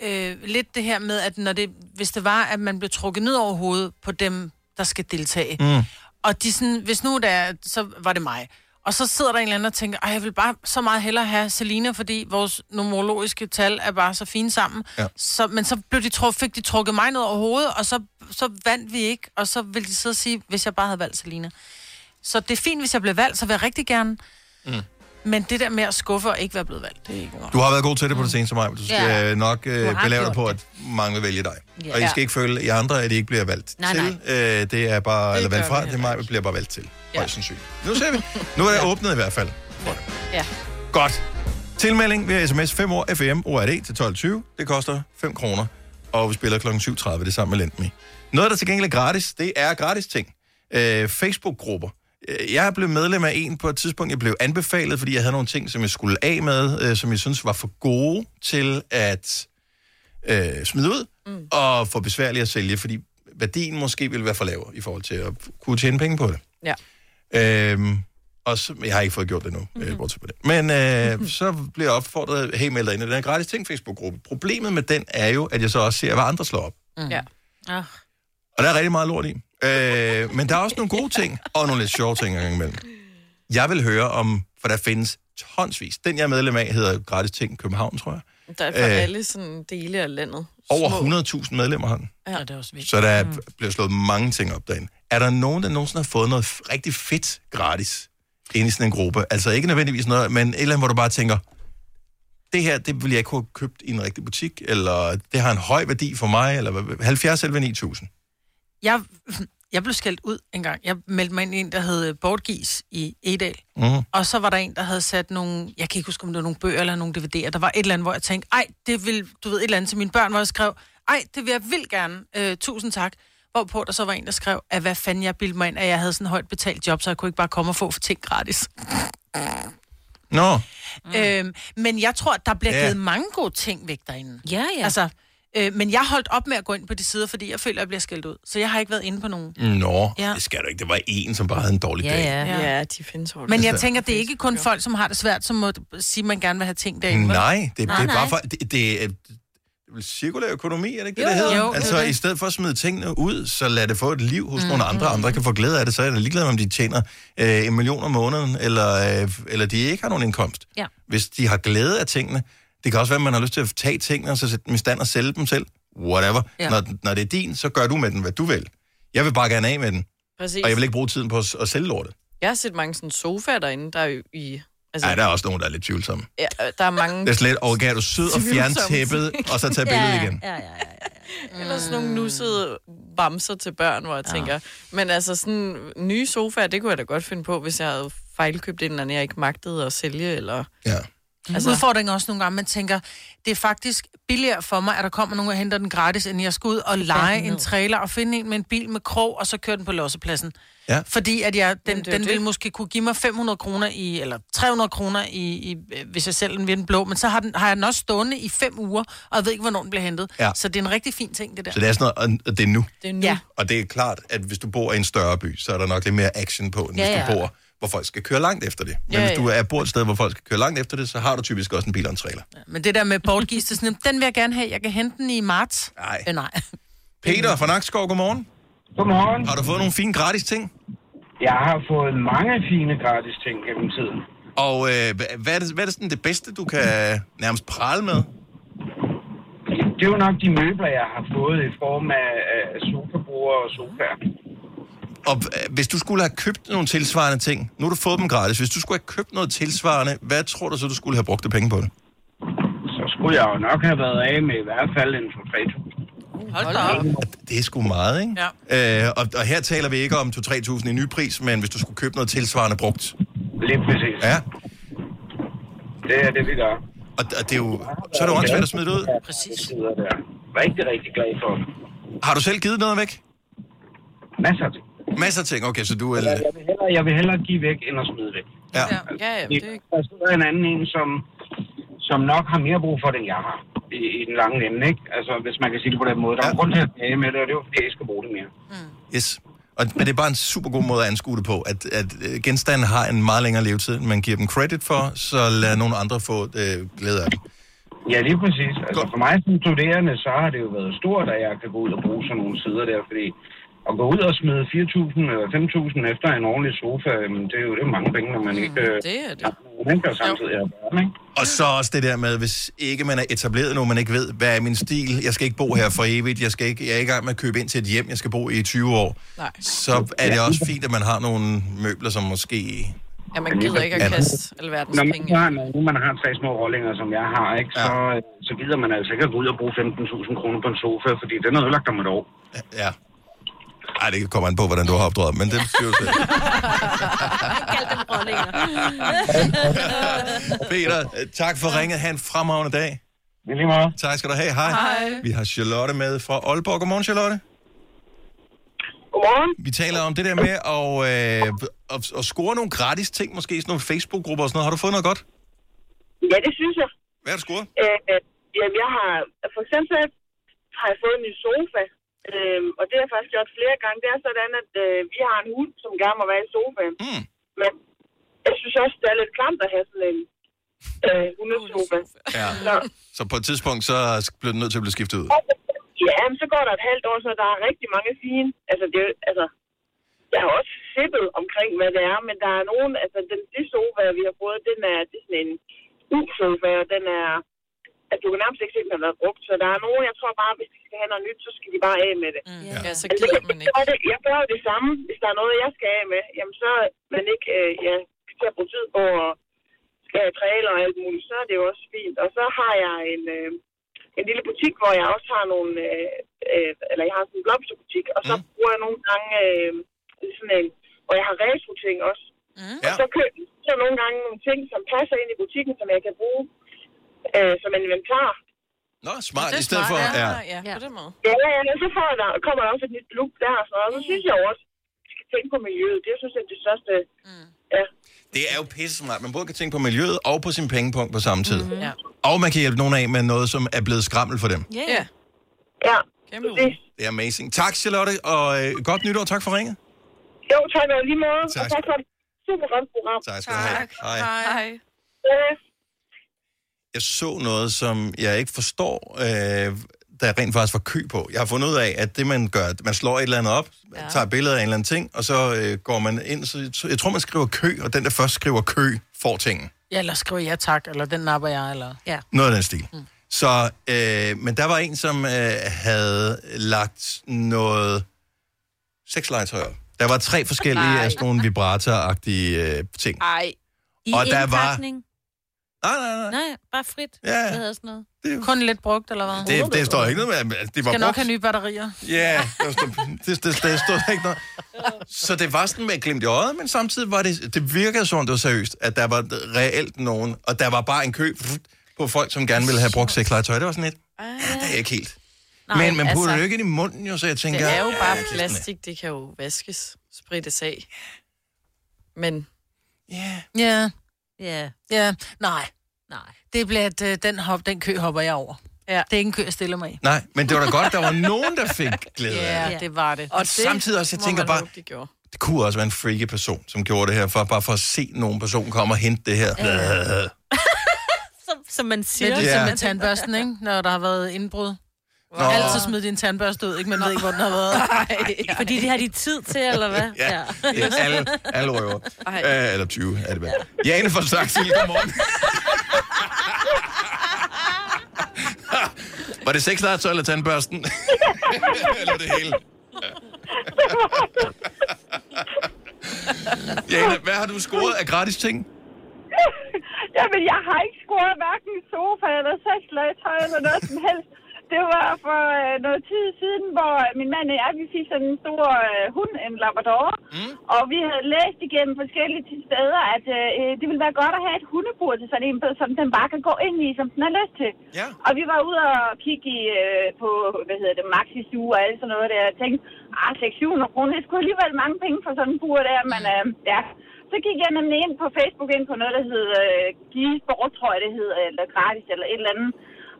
C: øh, lidt det her med, at når det, hvis det var, at man blev trukket ned over hovedet på dem, der skal deltage.
P: Mm.
C: Og de sådan, hvis nu det er, så var det mig. Og så sidder der en eller anden og tænker, "Ej, jeg vil bare så meget hellere have Selina, fordi vores nomologiske tal er bare så fine sammen.
A: Ja.
C: Så, men så blev de tru- fik de trukket mig ned over hovedet, og så, så vandt vi ikke. Og så ville de sidde og sige, hvis jeg bare havde valgt Selina. Så det er fint, hvis jeg blev valgt, så vil jeg rigtig gerne.
A: Mm.
C: Men det der med at skuffe og ikke være blevet valgt, det er ikke godt. Mm.
A: Du har været god til det på det seneste, Maja. Du skal
C: Ja.
A: ja. nok
C: Du
A: øh,
C: har
A: belave dig
C: gjort
A: på, at mange vil vælge dig.
C: Ja.
A: Ja. Og I skal ikke føle i andre, at I ikke bliver valgt
C: Nej,
A: til.
C: nej.
A: Øh, det er bare, det eller
C: gør
A: valgt
C: vi
A: fra,
C: heller
A: det er mig, vi bliver bare valgt til.
C: Ja.
A: Ja. Højst sandsynligt. Nu ser vi. Nu er det åbnet i hvert fald.
C: Ja.
A: Godt. Tilmelding via sms 5 år FM ORD til 12.20. Det koster 5 kroner. Og vi spiller kl. 7.30, det er sammen med Lendme. Noget, der til gengæld er gratis, det er gratis ting. Øh, Facebook-grupper. Øh, Jeg blev medlem af en på et tidspunkt, jeg blev anbefalet, fordi jeg havde nogle ting, som jeg skulle af med, øh, som jeg synes var for gode til at øh, smide ud, mm. og for besværlige at sælge, fordi værdien måske ville være for lavere i forhold til at kunne tjene penge på det.
B: Ja.
A: Øhm, og så, jeg har ikke fået gjort det endnu,
B: Mhm.
A: mm-hmm. bortset på det. Men øh, så bliver jeg opfordret, hey, meld dig ind i den her gratis ting Facebook-gruppe. Problemet med den er jo, at jeg så også ser, hvad andre slår op.
B: Mm. Ja.
D: Ah.
A: Og der er rigtig meget lort i. Øh, men der er også nogle gode ting, og nogle lidt sjove ting engang imellem. Jeg vil høre om, for der findes tonsvis. Den, jeg er medlem af, hedder Gratis Ting København, tror jeg.
B: Der er for
A: Øh.
B: alle sådan dele af landet.
A: Over
B: Små.
A: 100.000 medlemmer har den.
C: Ja, det er også vigtigt.
A: Så der mm. bliver slået mange ting op derinde. Er der nogen, der nogensinde har fået noget f- rigtig fedt gratis ind i sådan en gruppe? Altså ikke nødvendigvis noget, men et eller andet, hvor du bare tænker, det her, det ville jeg ikke have købt i en rigtig butik, eller det har en høj værdi for mig, eller hvad- 70 eller 9000.
C: Jeg, jeg blev skældt ud en gang. Jeg meldte mig ind i en, der hed øh, Bortgis i Edal.
A: Mm.
C: Og så var der en, der havde sat nogle, jeg kan ikke huske, om det var nogle bøger eller nogle DVD'er. Der var et eller andet, hvor jeg tænkte, ej, det vil, du ved, et eller andet til mine børn, hvor jeg skrev, ej, det vil jeg vildt gerne, øh, tusind tak. Hvorpå der så var en, der skrev, at hvad fanden jeg bildte mig ind, at jeg havde sådan et højt betalt job, så jeg kunne ikke bare komme og få ting gratis.
A: Nå,
C: Mm. Øhm, men jeg tror, der bliver
A: Ja.
C: givet mange gode ting væk derinde.
D: Ja, ja.
C: Altså, øh, men jeg holdt op med at gå ind på de sider, fordi jeg føler, at jeg bliver skældt ud. Så jeg har ikke været inde på nogen.
A: nå,
C: Ja.
A: ja. det skal du ikke. Det var en, som bare havde en dårlig dag.
B: ja. ja, de findes hårdt.
C: Men jeg tænker, det er ikke kun folk, som har det svært, som må sige, at man gerne vil have ting derinde. vel?
A: Nej, det, nej, det er bare for... Det, det, er- cirkulær økonomi, er det ikke
C: Jo,
A: det, det hedder?
C: jo, det er
A: altså,
C: det.
A: i stedet for at smide tingene ud, så lad det få et liv hos mm, nogle andre. Andre kan få glæde af det, så er det ligeglad, med, om de tjener øh, en million om måneden, eller, øh, eller de ikke har nogen indkomst.
G: Ja.
A: Hvis de har glæde af tingene, det kan også være, at man har lyst til at tage tingene, og så sætte dem i stand og sælge dem selv. Whatever.
B: Ja.
A: Ja. Når, når det er din, så gør du med den, hvad du vil. Jeg vil bare gerne af med den.
B: Præcis.
A: Og jeg vil ikke bruge tiden på at, at sælge lortet.
B: Jeg har set mange sådan sofaer derinde, der er jo i...
A: Altså, Ej, der er også nogen, der er lidt tvivlsomme.
B: Ja, øh, der er mange...
A: Det er slet, og kan du sød og fjerne tæppet, og så tage billedet igen.
G: Ja, ja, ja.
B: ja. Eller sådan nogle nussede bamser til børn, hvor jeg tænker... Men altså sådan nye sofaer, det kunne jeg da godt finde på, hvis jeg havde fejlkøbt en eller anden, jeg ikke magtede at sælge, eller...
A: Ja.
C: Altså. Udfordringen er også nogle gange, man tænker, det er faktisk billigere for mig, at der kommer nogen og henter den gratis, end jeg skal ud og lege en trailer og finde en med en bil med krog, og så køre den på lossepladsen.
A: Ja.
C: Fordi at jeg, den,
B: Jamen, det er jo
C: den
B: det.
C: vil måske kunne give mig 500 kroner i, eller 300 kroner i, i, øh, hvis jeg selv den vil den blå, men så har, den, har jeg den også stående i fem uger, og jeg ved ikke, hvornår den bliver hentet.
A: Ja.
C: Så det er en rigtig fin ting, det der.
A: Så det er sådan noget, og det er nu.
B: Det er nu. Ja.
A: Og det er klart, at hvis du bor i en større by, så er der nok lidt mere action på, end
C: Ja,
A: ja, hvis du
C: ja.
A: bor, hvor folk skal køre langt efter det. Men
C: Ja,
A: ja,
C: ja.
A: hvis du er bor et sted, hvor folk skal køre langt efter det, så har du typisk også en bil og en trailer.
C: Men det der med bortgives, det er sådan, den vil jeg gerne have, jeg kan hente den i marts.
A: Nej.
C: Øh, nej.
A: Peter fra Nakskov, godmorgen.
E: Godmorgen.
A: Har du fået nogle fine gratis ting?
E: Jeg har fået mange fine gratis ting gennem tiden.
A: Og øh, hva- hvad, er det, hvad er det, sådan det bedste, du kan nærmest prale med?
E: Det er jo nok de møbler, jeg har fået i form af, af sofaborer og sofaer.
A: Og øh, hvis du skulle have købt nogle tilsvarende ting, nu har du fået dem gratis, hvis du skulle have købt noget tilsvarende, hvad tror du så, du skulle have brugt det penge på det?
E: Så skulle jeg jo nok have været af med i hvert fald en for 3.000.
C: Hold da op.
A: Det er sgu meget, ikke? Ja. Øh, og, og her taler vi ikke om 2-3.000 i ny pris, men hvis du skulle købe noget tilsvarende brugt.
E: Lige præcis.
A: Ja,
E: Det er det, vi gør.
A: og, og det er jo, så er det jo åndssvagt at smide det ud.
E: Præcis. Der. Rigtig, rigtig glad for det.
A: Har du selv givet noget væk?
E: Masser af ting.
A: Masser af ting, okay, så du er...
E: Jeg, jeg, vil hellere, jeg vil hellere give væk, end at smide væk.
A: Ja.
B: Ja, ja,
E: det... Der sidder en anden en, som, som nok har mere brug for det, end jeg har i, i den lange ende, ikke? Altså, hvis man kan sige det på den måde. Der er ja. grund til at tage med det, og det er jo fordi, jeg ikke skal bruge det mere.
A: Yes. Og, men det er bare en super god måde at anskue det på, at, at øh, genstande har en meget længere levetid, end man giver dem credit for, så lad nogle andre få øh, glæde af dem.
E: Ja, lige præcis. Altså, for mig som studerende, så har det jo været stort, at jeg kan gå ud og bruge sådan nogle sider der, fordi at gå ud og smide 4.000 eller 5.000 efter en ordentlig sofa, jamen, det er jo det er mange penge, når man ikke... øh,
B: Det er det.
E: Man kan jo samtidig have børn, ikke?
A: Og så også det der med, hvis ikke man er etableret nu, man ikke ved, hvad er min stil, jeg skal ikke bo her for evigt, jeg, skal ikke, jeg er ikke i gang med at købe ind til et hjem, jeg skal bo i i 20 år,
B: Nej.
A: så er det også fint, at man har nogle møbler, som måske...
B: Ja, man gider ikke at kaste alverdens
E: Når man,
B: penge.
E: nu har, når nu man har tre små rollinger, som jeg har, ikke, så, øh, så gider man altså ikke at gå ud og bruge 15.000 kroner på en sofa, fordi den er ødelagt om et år.
A: Ja. Ej, det kommer an på, hvordan du har opdraget, men det er jo selv. Peter, øh, tak for ringet. Ha' en fremragende dag.
E: Lige meget.
A: Tak skal du have. Hej.
Q: Hej.
A: Vi har Charlotte med fra Aalborg. Godmorgen, Charlotte.
Q: Godmorgen.
A: Vi taler om det der med at, øh, at, at score nogle gratis ting, måske i sådan nogle Facebook-grupper og sådan noget. Har du fået noget godt?
Q: Ja, det synes jeg.
A: Hvad har du scoret?
Q: Øh, øh, jamen, jeg har... For eksempel så har jeg fået en ny sofa, øh, og det har jeg faktisk gjort flere gange. Det er sådan, at øh, vi har en hund, som gerne må være i sofaen.
A: Mm.
Q: Men jeg synes også, det er lidt klamt at have sådan en øh, hundesofa.
A: Ja.
Q: Så,
A: Så på et tidspunkt, så blev den nødt til at blive skiftet ud.
Q: ja, men så går der et halvt år, så der er rigtig mange fine... Altså, det er jo- altså, jeg har også sippet omkring, hvad det er, men der er nogen... Altså, den, det sofa, vi har fået, den er, det er sådan en U-sofa, og den er... At du kan nærmest ikke se, at den har været brugt. Så der er nogen, jeg tror bare, hvis de skal have noget nyt, så skal de bare af med det. Mm.
B: Ja, så gider man ikke.
Q: Det, jeg gør jo det samme. Hvis der er noget, jeg skal af med, jamen så er man ikke øh, ja, til at bruge tid på og skal have trailer og alt muligt, så er det jo også fint. Og så har jeg en, øh, en lille butik, hvor jeg også har nogle, øh, øh, eller jeg har sådan en blomsterbutik, og så mm. bruger jeg nogle gange øh, sådan en, hvor jeg har retro-ting også. Mm. Og
A: Ja.
Q: så køber så nogle gange nogle ting, som passer ind i butikken, som jeg kan bruge øh, som en inventar.
A: Nå, smart. I stedet for... Ja.
B: ja, på den måde.
Q: Ja, ja, ja, så får der, kommer der også et nyt look der, og sådan noget. så synes jeg jo også, at vi skal tænke på miljøet. Det er synes jeg det største. Mm. Ja.
A: Det er jo pisse smart. Man både kan tænke på miljøet og på sin pengepunkt på samme tid.
Q: Mhm. Ja.
A: Og man kan hjælpe nogen af med noget, som er blevet skrammel for dem.
Q: Yeah. Ja. Ja. præcis.
A: Det er amazing. Tak, Charlotte, og øh, godt nytår. Tak for ringet.
Q: Jo, tak og i lige måde.
A: Tak.
Q: Og tak for et super godt program.
A: Tak skal du have. Tak. Hej.
Q: Ja.
A: jeg så noget, som jeg ikke forstår, øh, der rent faktisk var kø på. Jeg har fundet ud af, at det man gør, at man slår et eller andet op, ja. tager billeder af en eller anden ting, og så øh, går man ind. Så jeg tr- jeg tror, man skriver kø, og den, der først skriver kø, får tingen.
C: Ja, eller skriver ja tak, eller den napper jeg, eller...
D: Ja.
A: Noget af den stil. Mm. Så, øh, men der var en, som øh, havde lagt noget sexlegetøj op. Der var tre forskellige af sådan nogle vibrator-agtige øh, ting.
D: Ej. I
A: Og der var-
D: indpakning?
A: Nej, nej, nej.
D: Nej, bare frit.
A: Ja.
D: Hvad hedder sådan noget?
A: Det...
C: Kun lidt brugt, eller hvad?
A: Det, det står ikke noget med. altså, Det var
C: Skal nok
A: brugt.
C: have nye batterier.
A: Ja, der stod, det, det, der stod ikke noget. Så det var sådan med et glimt i øjet, men samtidig var det, det virkede sådan, det var seriøst, at der var reelt nogen, og der var bare en kø på folk, som gerne ville have brugt sexlegetøj. Det var sådan lidt, ja, det er ikke helt. Nej, men man putter altså, det jo ikke ind i munden, jo, så jeg tænker...
B: Det er jo
A: ja,
B: bare
A: det er sådan
B: plastik, det kan jo vaskes, sprittes af. Men...
A: Ja.
C: Ja.
D: Ja.
C: Ja, nej. Nej. Det bliver, at øh, den, hop, den kø hopper jeg over.
B: Ja.
C: Det er ikke en kø, jeg stiller mig i.
A: Nej, men det var da godt, der var nogen, der fik glæde af det.
C: Ja, det var det.
A: Og samtidig også, jeg
B: må
A: tænker
B: man
A: bare-
B: håbe, de gjorde.
A: Det kunne også være en freaky person, som gjorde det her, for, bare for at se nogen person komme og hente det her. Ja.
D: Som, som man siger.
C: Lidt
A: Ja.
C: ligesom med tandbørsten, ikke? Når der har været indbrud. Nå. Altid smid din tandbørste ud, ikke? Man ved ikke, hvor den har været.
D: Nej. Fordi det har de tid til, eller hvad?
A: Ja, det er alle, alle røver.
D: Ej.
A: Øh, eller 20 er det vel. Jane fra Saxil, godmorgen. Var det sexlegetøj eller tandbørsten? eller det hele? Jane, hvad har du scoret af gratis ting?
P: Jamen, jeg har ikke scoret hverken sofa eller sexlegetøj eller noget som helst. Det var for øh, noget tid siden, hvor øh, min mand og jeg, vi fik sådan en stor øh, hund, en labrador. Mm. Og vi havde læst igennem forskellige til steder, at øh, det ville være godt at have et hundebur til sådan en, som den bare kan gå ind i, som den har lyst til.
A: Ja.
P: Og vi var ude og kigge i, øh, på, hvad hedder det, Maxi Stue og alt sådan noget der. Jeg tænkte, ah, 600 kroner, det skulle alligevel mange penge for sådan en bur der, men øh, ja. Så gik jeg nemlig ind på Facebook ind på noget, der hed øh, Give Sport, tror jeg det hed, eller gratis, eller et eller andet.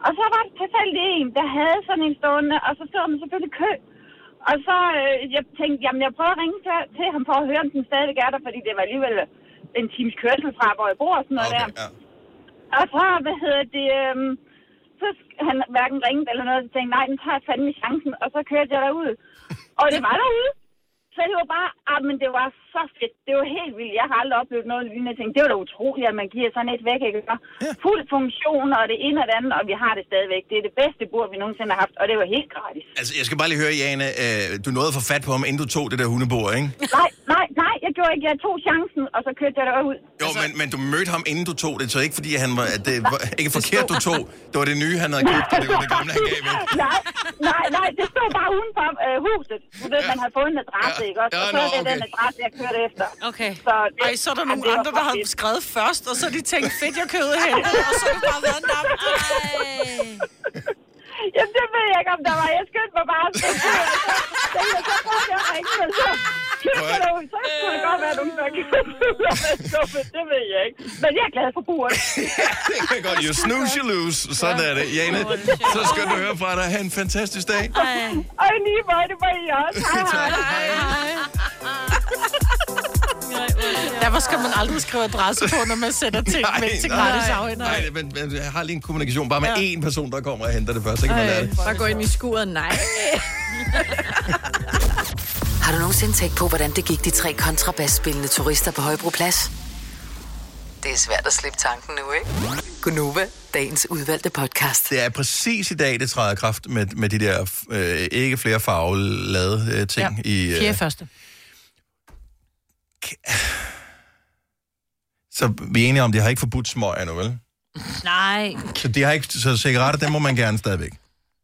P: Og så var der tilfældig en, der havde sådan en stående, og så stod man selvfølgelig i kø. Og så øh, jeg tænkte, jamen jeg prøver at ringe til, til ham for at høre, om den stadigvæk er der, fordi det var alligevel en times kørsel fra, hvor jeg bor og sådan noget okay, der.
A: Ja.
P: Og så, hvad hedder det, øhm, så sk- han hverken ringede eller noget, så tænkte jeg, nej, den tager jeg fandme chancen, og så kørte jeg derud. Og det var derude. Så det var bare, ah, men det var så fedt. Det var helt vildt. Jeg har aldrig oplevet noget lignende. Jeg tænkte, det var da utroligt, at man giver sådan et væk, ikke? Så Fuld funktion, og det ene og det andet, og vi har det stadigvæk. Det er det bedste bord, vi nogensinde har haft, og det var helt gratis.
A: Altså, jeg skal bare lige høre, Jane, øh, du nåede at få fat på ham, inden du tog det der hundebord, ikke?
P: Nej, nej, nej, jeg gjorde ikke. Jeg tog chancen, og så kørte jeg derud.
A: Jo, men, men du mødte ham, inden du tog det, så ikke fordi han var, at det var ikke forkert, du tog. Det var det nye, han havde købt, og det var det gamle, han gav væk.
P: nej, nej, nej, det stod bare uden for øh, huset. Du ved, ja. man har fået en adresse, ja. ikke også?
C: Ja,
P: Og så
C: nå,
P: er det
C: okay.
P: den adresse, jeg kørte efter.
D: Okay.
P: Så,
C: Ej, så er der
P: Jamen,
C: nogle
P: det var
C: andre, der
P: for
C: har
P: fedt.
C: skrevet først, og så har de tænkt, fedt, jeg købte hen, og så har det bare været namt.
P: Jamen, det ved jeg ikke, om der var. Jeg skyndte mig bare. Så tænkte jeg, så prøvede jeg at ringe, men så... Så kunne der jo- så kunne det godt være, at nogen der kan Det ved jeg ikke. Men jeg er glad for buret.
A: Det kan jeg godt. You snooze, you lose. Sådan er det. Jane, så skal du høre fra dig. Ha' en fantastisk dag.
P: Og i lige måde, det var I også. Hej, hej.
C: Derfor skal man aldrig skrive adresse på, når man sætter ting væk til gratis afhænder.
A: nej, men, men jeg har lige en kommunikation bare med én person, der kommer og henter det først. Så kan man lære det.
B: Bare gå ind i skuret, nej.
F: Har du nogensinde tænkt på, hvordan det gik de tre kontrabasspillende turister på Højbroplads? Det er svært at slippe tanken nu, ikke? Gunova, dagens udvalgte podcast.
A: Det er præcis i dag, det træder i kraft med, med de der øh, ikke flere farvelade øh, ting. I, øh,
C: Fjerde første.
A: så vi er enige om, det har ikke forbudt smøg endnu, vel?
D: Nej.
A: Så, de har ikke, så cigaretter, dem må man gerne stadigvæk.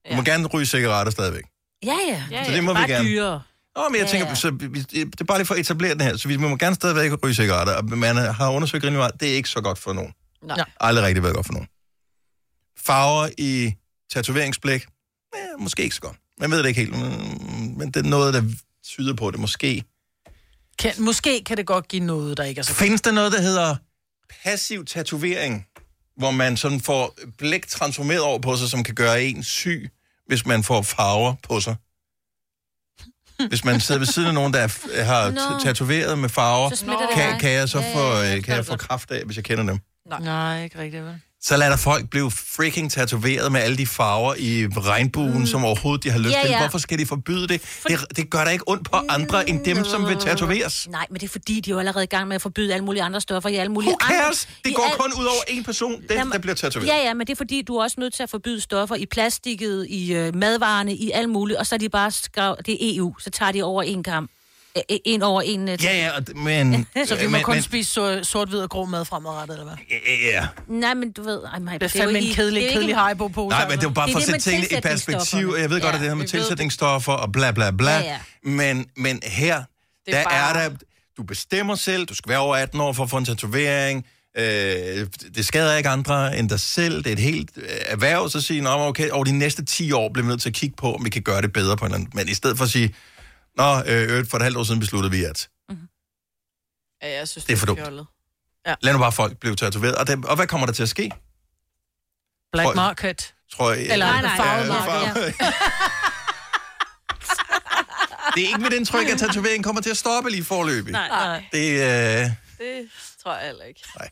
A: Man må gerne ryge cigaretter stadigvæk.
D: Ja, ja. ja, ja.
A: Så det må vi
D: bare
A: gerne.
D: Dyrere.
A: Nå, men jeg
D: Ja,
A: tænker,
D: ja.
A: så vi, det er bare lige for at etablere den her. Så vi må gerne stadigvæk ryge cigaretter. Og man har undersøgt rimelig meget. Det er ikke så godt for nogen.
B: Nej.
A: Aldrig rigtig været godt for nogen. Farver i tatoveringsblæk. Eh, måske ikke så godt. Man ved det ikke helt. Men, men det er noget, der tyder på det. Måske.
C: Kan, måske kan det godt give noget, der ikke er så godt.
A: Findes der noget, der hedder passiv tatovering? Hvor man sådan får blæk transformeret over på sig, som kan gøre en syg, hvis man får farver på sig. Hvis man sidder ved siden af nogen, der er- har
C: Nå.
A: no. tatoveret med farver,
C: Så smitter det
A: kan,
C: dig.
A: kan jeg så
C: Ja,
A: få,
C: ja,
A: øh, kan jeg få kraft af, hvis jeg kender dem?
C: Nej, ikke rigtigt, vel?
A: så lader folk blive freaking tatoveret med alle de farver i regnbuen, mm. som overhovedet de har lyst
D: Ja,
A: til.
D: ja.
A: Hvorfor skal de forbyde det? det? Det gør da ikke ondt på andre end dem, som vil tatoveres.
D: Nej, men det er fordi, de er jo allerede i gang med at forbyde alle mulige andre stoffer i alle mulige
A: Who cares?
D: andre...
A: Det
D: i
A: går
D: al-
A: kun ud over én person, den, der bliver tatoveret.
D: Ja, ja, men det er fordi, du er også nødt til at forbyde stoffer i plastikket, i øh, madvarerne, i alt muligt, og så er de bare skrev, det er EU, så tager de over en kamp. Øh, øh, En over en... øh,
A: Ja, ja, og d- men... øh,
C: Så vi må
A: men,
C: kun
A: men-
C: spise so- sort-hvid og grå mad fremadrettet, eller hvad?
A: Ja, ja, ja.
D: Nej, men du ved... Ej, nej,
C: Det er fandme en kedelig, kedelig Haribo-pose.
A: Nej, men det var bare for at
C: det
A: sætte
C: med
A: tingene i perspektiv.
C: tilsætningsstofferne.
A: og Jeg ved godt, at det her med tilsætningsstoffer og bla bla bla.
C: Ja,
A: Men, men her,
C: er
A: der
C: bare-
A: er der... Du bestemmer selv, du skal være over 18 år for at få en tatovering. Øh, det skader ikke andre end dig selv. Det er et helt øh, erhverv, så at sige, Nå, okay, over de næste 10 år bliver vi nødt til at kigge på, om vi kan gøre det bedre på en eller anden. Men i stedet for at sige, Nå, øh, øh, for et halvt år siden besluttede vi, at
B: Ja, jeg synes,
A: Det er for dumt.
B: fjollet.
A: lad nu bare folk blive tatoveret. Og, det, og hvad kommer der til at ske?
C: Black
A: Tror-
C: market.
A: Tror jeg,
C: Eller
A: Ja,
C: farvet
A: ja, farvet.
C: market, ja.
A: Det er ikke mit indtryk, at tatoveringen kommer til at stoppe lige forløbig.
B: Nej, nej.
A: Det, øh,
B: Det tror jeg heller ikke.
A: Nej.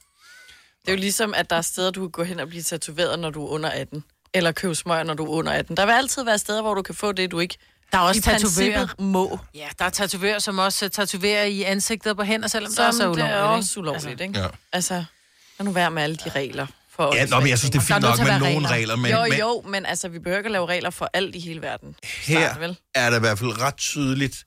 B: Det er jo ligesom, at der er steder, du kan gå hen og blive tatoveret, når du er under 18. Eller købe smøger, når du er under 18. Der vil altid være steder, hvor du kan få det, du ikke
C: Der er også
B: i princippet
C: tatovører.
B: må.
C: Ja, der er tatovører, som også øh, tatoverer i ansigtet og på hænder, selvom det
B: Som
C: også er
B: det
C: ulovligt.
B: er
C: ikke?
B: også ulovligt, ikke?
A: Ja.
B: Altså, lad nu være med alle de regler. For
A: Ja, nå, men jeg synes, det er
B: Der
A: fint
B: nødt
A: nok
B: til at
A: med
B: være
A: nogle regler, men,
B: jo,
A: men
B: jo, men altså, vi behøver ikke at lave regler for alt i hele verden.
A: her
B: Snart, vel?
A: er det i hvert fald ret tydeligt,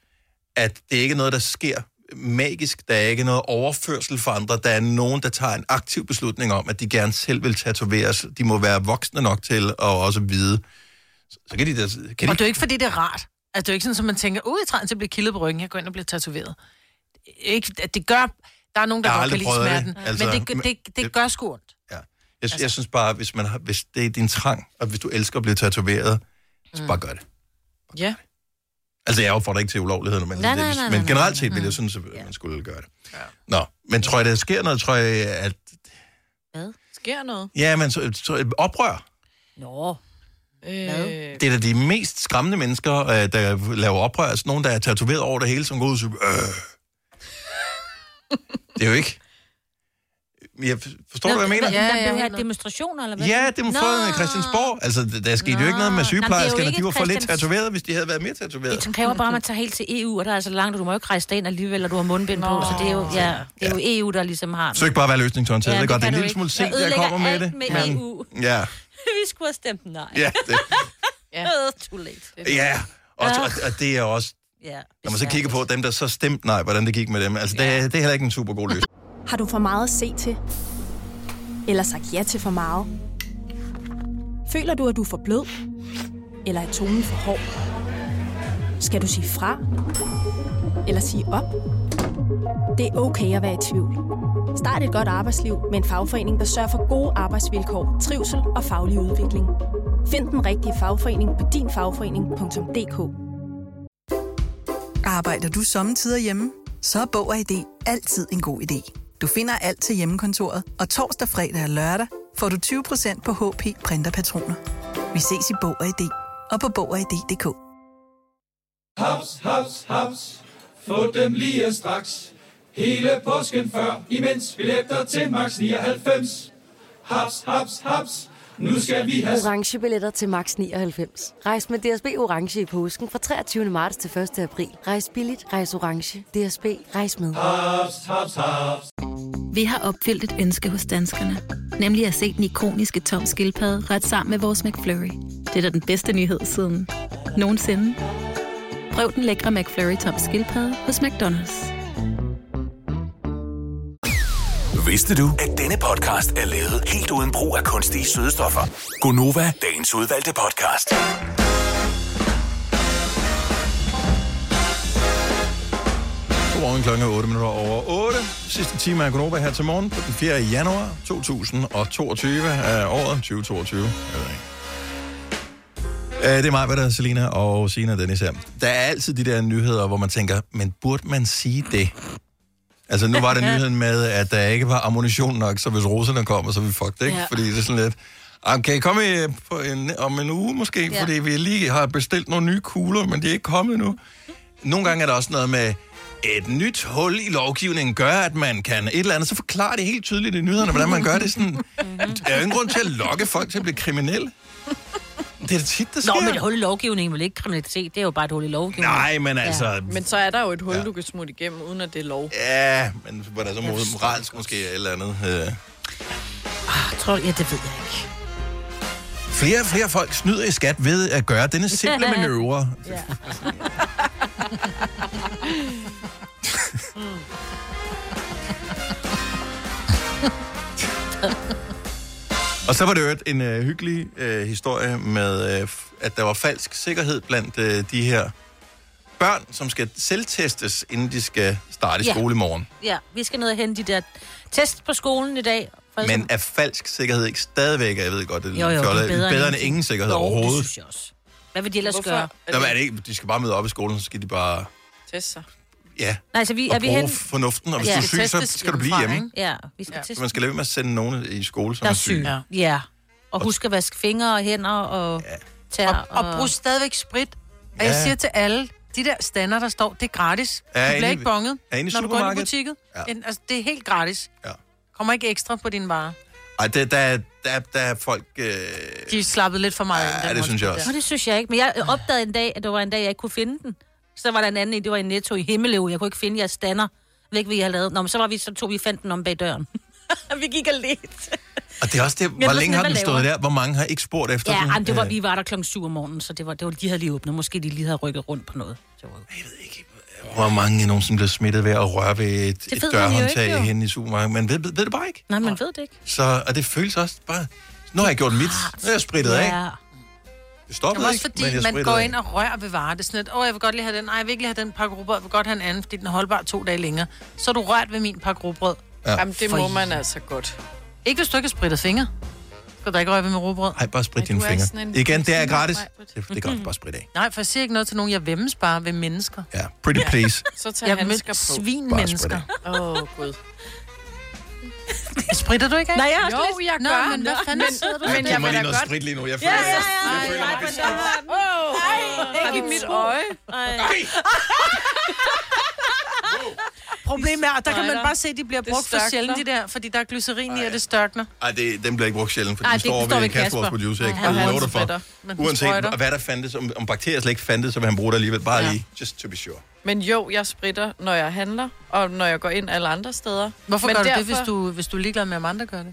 A: at det ikke er noget, der sker magisk. Der er ikke noget overførsel for andre. Der er nogen, der tager en aktiv beslutning om, at de gerne selv vil tatoveres. De må være voksne nok til at også vide. Så så kan de da... Kan
C: Og
A: de,
C: det er jo ikke, fordi det er rart. Altså, det er jo ikke sådan, at man tænker, ud i træden til at blive kildet på ryggen, jeg går ind og bliver tatoveret. Ikke, at det gør... Der er nogen, der
A: Jeg har
C: godt kan
A: aldrig
C: lide
A: prøvet det,
C: smerten,
A: altså,
C: altså, men det, gør-
A: men-
C: det, det gør sgu ondt.
A: jeg,
C: Altså-
A: jeg synes bare, hvis, man har, hvis det er din trang, og hvis du elsker at blive tatoveret, så
C: Mm.
A: bare gør det.
B: Ja.
A: Altså, jeg opfordrer ikke til ulovligheder, men,
B: Nej, nej, nej, nej,
A: men generelt set ville jeg synes, at man skulle gøre det. Ja. Nå, men tror jeg, der sker noget? Tror jeg, at...
B: Sker noget?
A: Ja, men så, så, oprør.
D: Nå.
B: Øh,
A: Det er da de mest skræmmende mennesker, øh, der laver oprør. Altså nogen, der er tatoveret over det hele, som går ud og siger, øh. Det er jo ikke... Jeg forstår du, hvad jeg mener?
D: Ja, ja, ja. have demonstrationer, eller hvad?
A: Ja, det må
D: Nå.
A: få en Christiansborg. Altså, d- der skete jo ikke noget
D: Nå. Jamen, det er
A: med
D: jo
A: sygeplejerskerne.
D: ikke
A: De var for lidt
D: Christians-
A: tatoveret, hvis de havde været mere tatoveret.
D: Det kræver bare, at man tager helt til EU, og der er altså langt, og du må jo ikke rejse ind alligevel, og du har mundbind på, så det er jo, ja, det er jo EU, der ligesom har den.
A: Søg bare at være løsningsorienteret.
D: Ja,
A: Ja, det er
D: det
A: godt, det er
D: kan
A: en
D: du
A: lille
D: ikke.
A: smule sent,
D: Jeg
A: jeg kommer med
D: ødelægger
A: det.
D: alt med EU.
A: Ja,
D: Vi skulle have stemt nej.
A: ja, det,
B: Ja.
D: Too late.
A: ja. Og, og, og det er også
D: Ja.
A: Når man så kigger på dem, der så stemte nej, hvordan det gik med dem. Altså, det, er, det er heller ikke en super god løsning.
M: Har du for meget at se til? Eller sagt ja til for meget? Føler du, at du er for blød? Eller er tonen for hård? Skal du sige fra? Eller sige op? Det er okay at være i tvivl. Start et godt arbejdsliv med en fagforening, der sørger for gode arbejdsvilkår, trivsel og faglig udvikling. Find den rigtige fagforening på dinfagforening.dk.
N: Arbejder du sommetider hjemme? Så er Bog og ID altid en god idé. Du finder alt til hjemmekontoret, og torsdag, fredag og lørdag får du 20% på HP printerpatroner. Vi ses i Bog og ID og på Bog og ID.dk.
L: Haps, haps, haps. Få dem lige straks. Hele påsken før, imens billetter til max 99. Haps, haps, haps. Nu skal vi have...
I: Orange billetter til max 99. Rejs med DSB Orange i påsken fra 23. marts til 1. april. Rejs billigt, rejs orange. DSB, rejs med.
L: Haps, haps, haps.
O: Vi har opfyldt et ønske hos danskerne. Nemlig at se den ikoniske tom skildpadde ret sammen med vores McFlurry. Det er da den bedste nyhed siden nogensinde. Prøv den lækre McFlurry tom skildpadde hos McDonald's.
G: Vidste du, at denne podcast er lavet helt uden brug af kunstige sødestoffer? Gonova, dagens udvalgte podcast.
A: Godmorgen klokken er 8 minutter over 8. Sidste time af Konoba her til morgen på den 4. januar 2022 af øh, året 2022. Jeg ved ikke. Øh, Det er mig, hvad der er Selina og Sina og Dennis her. Der er altid de der nyheder, hvor man tænker, men burde man sige det? Altså, nu var der nyheden med, at der ikke var ammunition nok, så hvis russerne kommer, så er vi fucked, ikke?
G: Ja.
A: Ja. Fordi det er sådan lidt... "Ah, Kan I komme i, på en, om en uge måske?
G: Ja.
A: Ja. Fordi vi lige har bestilt nogle nye kugler, men de er ikke kommet nu. Nogle gange er der også noget med, et nyt hul i lovgivningen gør, at man kan et eller andet, så forklarer det helt tydeligt i nyhederne, hvordan man gør det. Sådan,
D: Mhm.
A: der er jo ingen grund til at lokke folk til at blive kriminelle. Det er da tit, det sker.
D: Nå, men et hul i lovgivningen vil ikke kriminalitet. Det er jo bare et hul i lovgivningen.
A: Nej, men altså-
D: Ja.
B: Men så er der jo et hul, ja. du kan smutte igennem, uden at det er lov.
A: Ja, men var der så mod- moralsk måske et eller andet. Øh.
D: Jeg tror, ja, det ved jeg ikke.
A: Flere og flere folk snyder i skat ved at gøre denne simple manøvre.
D: Ja.
A: Og så var det jo en øh, hyggelig øh, historie med, øh, f- at der var falsk sikkerhed blandt øh, de her børn, som skal selvtestes, inden de skal starte i
D: Ja.
A: skole i morgen.
D: Ja, vi skal ned og hente de der test på skolen i dag. For ligesom,
A: Men er falsk sikkerhed ikke stadigvæk, og jeg ved godt, det er
D: Jo, jo, det er
A: fjollet,
D: bedre end
A: bedre end
D: ingenting.
A: ingen sikkerhed
D: Jo, det
A: overhovedet.
D: synes jeg også. Hvad vil de ellers Hvorfor? gøre?
A: Der er det ikke, de skal bare møde op i skolen, så skal de bare,
B: Test sig.
A: ja,
D: Nej, så vi,
A: og
D: er vi
A: bruge
D: hen...
A: fornuften, og hvis ja. du er syg, så skal du blive hjemme.
D: Ja, vi skal ja.
A: Så man skal lade være med at sende nogen i skole, som
D: der
A: er
D: er
A: syge.
D: syg. Ja. ja. Og husk at vaske fingre og hænder og ja. tæer.
C: Og, og brug stadigvæk sprit. Og jeg
A: Ja.
C: siger til alle, de der stander, der står, det er gratis.
A: Ja,
C: Ja, du
A: inde
C: bliver
A: i-
C: ikke bonget,
A: ja, inde i
C: når du går ind i
A: supermarkedet.
C: butikket.
A: Ja.
C: Ja. Altså, det er helt gratis.
A: Ja.
C: Kommer ikke ekstra på dine varer.
A: Ej, der, der, der, der er folk... Øh,
C: De er slappet lidt for meget.
A: Ja, det synes jeg også.
D: Nå, det synes jeg ikke. Men jeg opdagede en dag, at det var en dag, jeg ikke kunne finde den. Så var der en anden en, det var i Netto i Himmeløv. Jeg kunne ikke finde jeres stander. Jeg ved ikke, hvad I har lavet. Nå, men så var vi, så tog vi fandt den om bag døren. vi gik og lidt.
A: Og det er også det,
D: Men
A: hvor
D: det er sådan,
A: længe har
D: hvad
A: den
D: laver
A: stået
D: den?
A: der? Hvor mange har ikke spurgt efter
D: Ja,
A: den?
D: jamen, det var,
A: Øh,
D: vi var der klokken 7 om morgenen, så det var, det var, de havde lige åbnet. Måske de lige havde rykket rundt på noget. Det var...
A: Hvor mange er nogensinde blevet smittet ved at røre ved et,
D: Det
A: et
D: ved man jo ikke,
A: dørhåndtag
D: jo.
A: hen i supermarkedet? Man ved, ved, ved det bare ikke.
D: Nej, man ved det ikke.
A: Så, og det føles også bare... Nu har jeg gjort mit. Nu har jeg sprittet af. Det
C: Det
A: stoppede
C: er
A: ikke,
C: også fordi,
A: men
C: man
A: jeg sprittede
C: går
A: af.
C: ind og rører ved varer. Det er sådan lidt, åh, jeg vil godt lige have den. Ej, jeg vil ikke lige have den pakke rugbrød. Jeg vil godt have en anden, fordi den er holdbar to dage længere. Så er du rørt ved min pakke rugbrød.
A: Ja.
B: Jamen, det må man altså godt.
C: Ikke hvis du ikke har sprittet fingre. Skal du da ikke røre ved min rugbrød?
A: Nej, bare sprit
C: Ej, du
A: dine
C: er
A: fingre.
C: sådan en-
A: Igen, det er gratis.
C: Maj-Brit.
A: Det, det er godt, bare sprit af.
C: Nej, for jeg siger ikke noget til nogen. Jeg vemmes bare ved mennesker.
A: Ja, pretty please.
B: Så
C: Jeg
B: tager
C: har mødt
B: handsker på.
C: svinmennesker.
B: Åh, oh, gud.
C: Spritter du ikke af?
B: Nej, jeg er også
C: Jo,
B: lidt-
C: jeg
B: Nå,
C: gør.
B: men
C: men
B: hvad
C: hvad
B: fanden
C: fanden
B: sidder du
A: Jeg
B: Men
A: giver
B: jeg
A: mig
B: vil
A: lige
B: da
A: noget
B: godt-
A: sprit lige nu. Jeg
B: Ja,
A: føler,
B: ja,
A: jeg føler mig beskidt.
B: Åh,
C: Ej,
B: ikke i mit øje.
C: Problemet er, at der kan man bare se, at de bliver
B: Det
C: brugt for
B: størkner.
C: sjældent, de der, fordi der er glycerin i, og det størkner.
A: Ej, det, den bliver ikke brugt sjældent, for
C: Ej,
A: den
C: det
A: står
C: står
A: ved
C: ved
A: Kasper, vores
C: Kasper.
A: producer, ikke?
C: Ja,
A: Og
C: han
A: lover dig
C: sprøjter,
A: for.
C: men den
A: Uanset
C: sprøjter.
A: hvad der fandtes, om, om bakterier slet ikke fandtes, så vil han bruge det alligevel. Bare lige, just to be sure.
B: Men jo, jeg spritter, når jeg handler, og når jeg går ind alle andre steder.
C: Hvorfor
B: men
C: gør du det, hvis du, hvis du er ligeglad med, om andre gør det?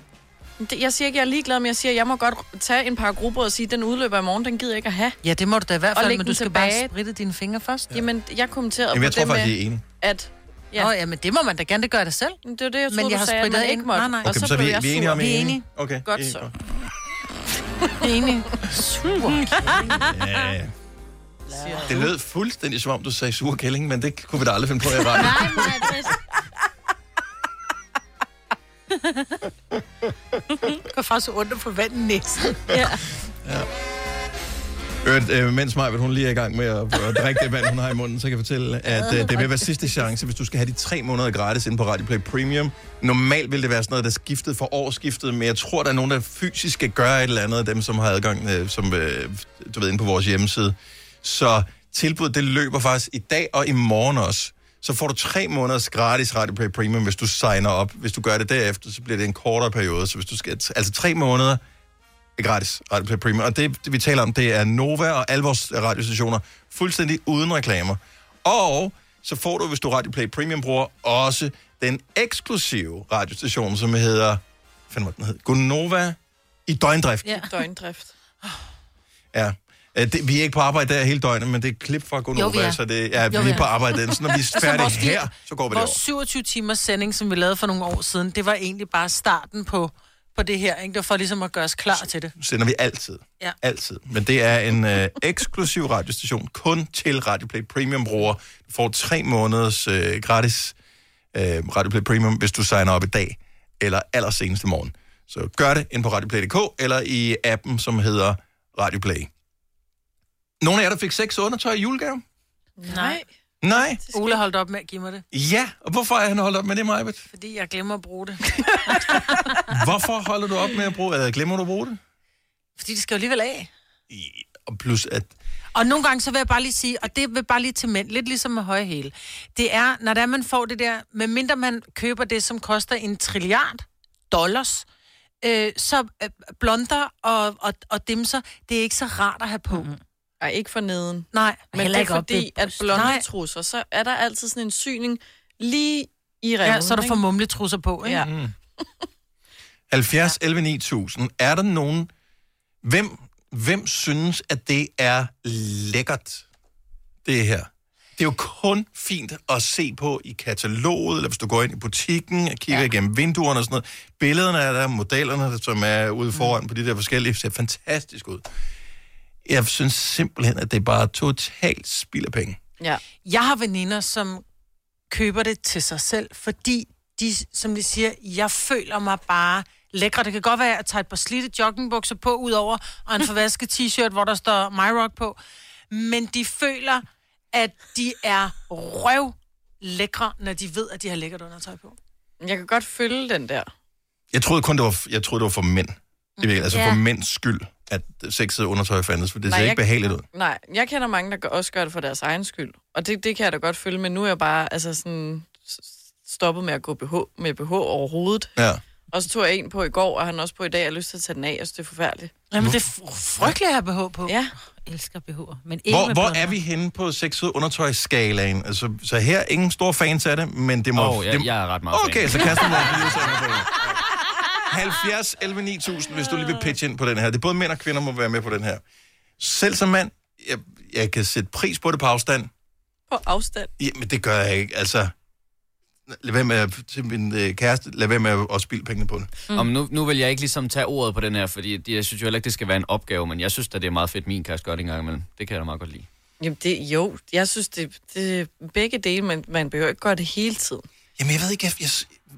B: Det- Jeg siger ikke, jeg er ligeglad, men jeg siger, jeg må godt tage en par grupper og sige, den udløber i morgen, den gider jeg ikke at have.
C: Ja, det må du da i hvert
B: Og
C: fald,
B: læg
C: men
B: den
C: du skal
B: tilbage.
C: bare spritte dine fingre først.
B: Jamen, jeg kommenterede
A: Jamen, jeg
B: på
A: tror
B: det
A: faktisk,
B: med,
A: de er enige.
B: at...
C: Ja. Nå, ja, men det må man da gerne, det gør det selv.
B: Det er det, jeg
C: Men
B: troede,
C: jeg
B: du
C: har
B: sagde, at
C: sprittet
B: man
C: ind.
B: ikke måtte.
C: Nej, nej.
A: Okay,
C: Og
A: så,
C: så
A: så er vi,
C: blev jeg
A: vi er enige
C: sur.
A: om, at I
C: Vi
A: er
C: er
A: enige.
C: enige.
A: Okay.
C: Godt
A: I er
C: så.
A: enige.
C: Enig. Super.
A: Ja, ja. Det lød fuldstændig som om, du sagde sur kælling, men det kunne vi da aldrig finde på i radioen.
C: Det går faktisk ondt at få vand i næsen. Ja.
A: Øvrigt, Øh, mens Majbet, hun lige er i gang med at, at drikke det vand, hun har i munden, så kan jeg fortælle, at øh, det vil være sidste chance, hvis du skal have de tre måneder gratis inde på Radio Play Premium. Normalt vil det være sådan noget, der er skiftet for årsskiftet, men jeg tror, der er nogen, der fysisk skal gøre et eller andet af dem, som har adgang, øh, som øh, du ved, inde på vores hjemmeside. Så tilbuddet, det løber faktisk i dag og i morgen også. Så får du tre måneders gratis Radio Play Premium, hvis du signer op. Hvis du gør det derefter, så bliver det en kortere periode. Så hvis du skal, altså tre måneder, er gratis Radio Play Premium. Og det, det, vi taler om, det er Nova og alle vores radiostationer, fuldstændig uden reklamer. Og så får du, hvis du er Radio Play Premium bruger, også den eksklusive radiostation, som hedder, fandt den hed, Gunova i døgndrift.
B: Ja. Døgndrift.
A: Ja. Øh, Det, vi er ikke på arbejde der hele døgnet, men det er et klip fra Gunova,
C: Jo, vi er.
A: så det ja, vi
C: Jo, vi
A: er
C: er.
A: på arbejde. den. Så når vi er færdige
C: vores fir-
A: her, så går vi
C: Vores
A: derover.
C: 27 timers sending, som vi lavede for nogle år siden, det var egentlig bare starten på, på det her. Ikke? Det var for ligesom at gøre os klar til det.
A: sender vi altid.
C: Ja.
A: Altid. Men det er en øh, eksklusiv radiostation, kun til Radioplay Premium-brugere. Du får tre måneders øh, gratis øh, Radioplay Premium, hvis du signer op i dag, eller allerseneste morgen. Så gør det ind på radioplay.dk, eller i appen, som hedder Radioplay. Nogle af jer, der fik seks undertøj i julegave?
C: Nej.
A: Nej.
C: Ole holdt op med at give mig det,
A: Ja, og hvorfor er han holdt op med det, Majbet?
C: fordi jeg glemmer at bruge det.
A: Hvorfor holder du op med at bruge, eller glemmer du at bruge det?
C: Fordi det skal jo alligevel af.
A: og plus at...
C: Og nogle gange, så vil jeg bare lige sige, og det vil bare lige til mænd, lidt ligesom med høje hæle, det er, når der man får det der, medmindre man køber det, som koster en trilliard dollars, øh, så øh, blonder og, og, og dimser, det er ikke så rart at have på. Mm-hmm.
B: Nej, ikke for neden.
C: Nej,
B: Men det er fordi, at blonde
C: Nej.
B: trusser, så er der altid sådan en syning lige i revnen.
C: Ja, så du får
B: ikke?
C: mumletrusser på, ikke?
B: Ja.
A: Mm. 70, ja. 11, 9000. Er der nogen... Hvem, hvem synes, at det er lækkert, det her? Det er jo kun fint at se på i kataloget, eller hvis du går ind i butikken og kigger ja. igennem vinduerne og sådan noget. Billederne er der, modellerne, som er
B: Mm.
A: ude foran på de der forskellige, ser fantastisk ud. Jeg synes simpelthen, at det er bare totalt spild af penge.
B: Ja.
C: Jeg har veninder, som køber det til sig selv, fordi de, som de siger, jeg føler mig bare lækre. Det kan godt være, at jeg tager et par slidte joggingbukser på udover, og en forvasket t-shirt, hvor der står My Rock på. Men de føler, at de er røv lækre, når de ved, at de har lækkert undertøj på.
B: Jeg kan godt følge den der.
A: Jeg troede kun, det var, jeg troede, det var for mænd. I virkeligheden, altså
B: Ja.
A: for mænds skyld, at sexet undertøj fandtes, for det ser
B: Nej,
A: ikke
B: jeg-
A: behageligt ud.
B: Nej, jeg kender mange, der gør- også gør det for deres egen skyld. Og det, det kan jeg da godt følge, men nu er jeg bare altså sådan, s- stoppet med at gå BH, med BH overhovedet.
A: Ja.
B: Og så tog jeg en på i går, og han også på i dag, og jeg har lyst til at tage den af, og så det er forfærdeligt.
C: Jamen, det er frygteligt at have BH på.
B: Ja.
D: Jeg elsker BH'er, men ikke
A: Hvor,
D: med
A: hvor
D: blonder.
A: er vi henne på sexet undertøjsskalaen? Altså, så her er ingen store fans af det, men det må...
R: Åh, jeg-
A: det,
R: jeg er ret meget fan.
A: Okay, så Kasper må lige sig på det. 70 11 9000, hvis du lige vil pitche ind på den her. Det er både mænd og kvinder må være med på den her. Selv som mand, jeg, jeg kan sætte pris på det på afstand.
B: På afstand.
A: Jamen, det gør jeg ikke. Altså, lad være med at, til min øh, kæreste, lad være med at, at spilde pengene på det.
R: Mm. Om nu, nu vil jeg ikke ligesom tage ordet på den her, fordi det- jeg synes jo heller ikke, det skal være en opgave, men jeg synes da, det er meget fedt, min kæreste gør det en gang imellem. Det kan jeg da meget godt lide.
B: Jamen det, jo, jeg synes, det, det er begge dele, men man behøver ikke gøre det hele tiden.
A: Jamen, jeg ved ikke, jeg, jeg,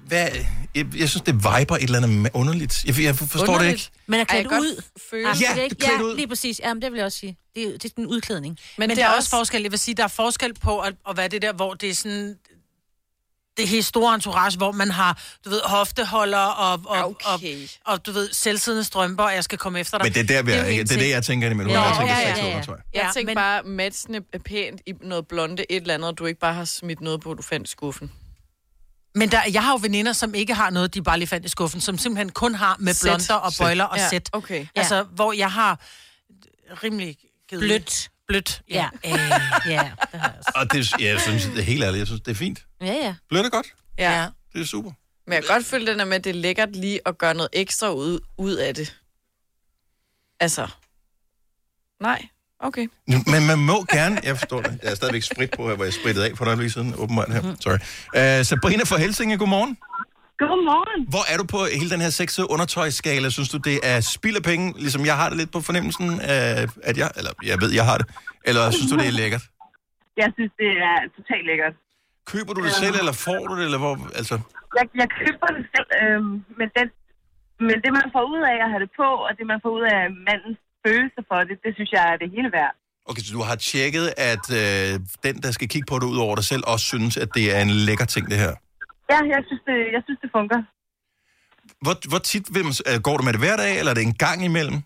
A: hvad, jeg, jeg synes, det viber et eller andet ma- underligt. Jeg, jeg forstår det ikke.
D: Men er
B: Ej, jeg
D: klædt
B: kan godt
D: ud.
B: føle-
D: Ah,
A: Ja,
D: det er ikke,
A: du er klædt
D: ja,
A: ud.
D: lige præcis. Jamen, det vil jeg også sige. Det er, det er den udklædning.
C: Men, Men der er også forskel. Jeg vil sige, der er forskel på at, at være det der, hvor det er sådan det helt store entourage, hvor man har, du ved, hofteholder og, og, okay. og, og du ved, selvsiddende strømper, og jeg skal komme efter dig.
A: Men det er der, vi
C: jo
A: er,
C: en
A: ikke? det er
C: ting.
A: det, jeg tænker imellem, når jeg tænker sexet undertøj.
B: Jeg
C: Ja,
B: tænker
C: men-
B: bare, matchende er pænt i noget blonde, et eller andet, og du ikke bare har smidt noget på, du fandt i skuffen.
C: Men der, jeg har jo veninder, som ikke har noget, de bare lige fandt i skuffen, som simpelthen kun har med
B: Sæt.
C: blonder og
B: Sæt.
C: bøjler og
B: Ja,
C: sæt.
B: okay.
C: Altså, hvor jeg har rimelig... kedeligt-
D: Blødt.
C: Blødt, ja.
D: Ja, øh, ja.
A: Og det, ja, jeg synes, det er helt ærligt, jeg synes, det er fint.
D: Ja, ja.
A: Blødt er godt.
B: Ja.
A: Det er super.
B: Men jeg kan godt føle den der med, at det er lækkert lige at gøre noget ekstra ud, ud af det. Altså. Nej. Okay.
A: Men man må gerne, jeg forstår det. Jeg er stadigvæk sprit på her, hvor jeg sprittede af for et øjeblik siden, åbenbart her. Sorry. Uh, Sabrina fra Helsinge, godmorgen.
Q: Godmorgen.
A: Hvor er du på hele den her sexede undertøjsskala? Synes du, det er spild af penge, ligesom jeg har det lidt på fornemmelsen, af, at jeg, eller jeg ved, jeg har det? Eller synes du, det er lækkert?
Q: Jeg synes, det er totalt lækkert. Øhm,
A: Køber du det selv, eller får du det, eller hvor, altså...
Q: Jeg, jeg køber det selv, øhm, men, den, men det, man får ud af at have det på, og det, man får ud af mandens følelse for det, det synes jeg er det hele værd.
A: Okay, så du har tjekket, at øh, den, der skal kigge på det ud over dig selv, også synes, at det er en lækker ting, det her.
Q: Ja, jeg synes, det, jeg synes, det fungerer.
A: Hvor, hvor tit vil man, s- øh, går du med det hver dag, eller er det en gang imellem?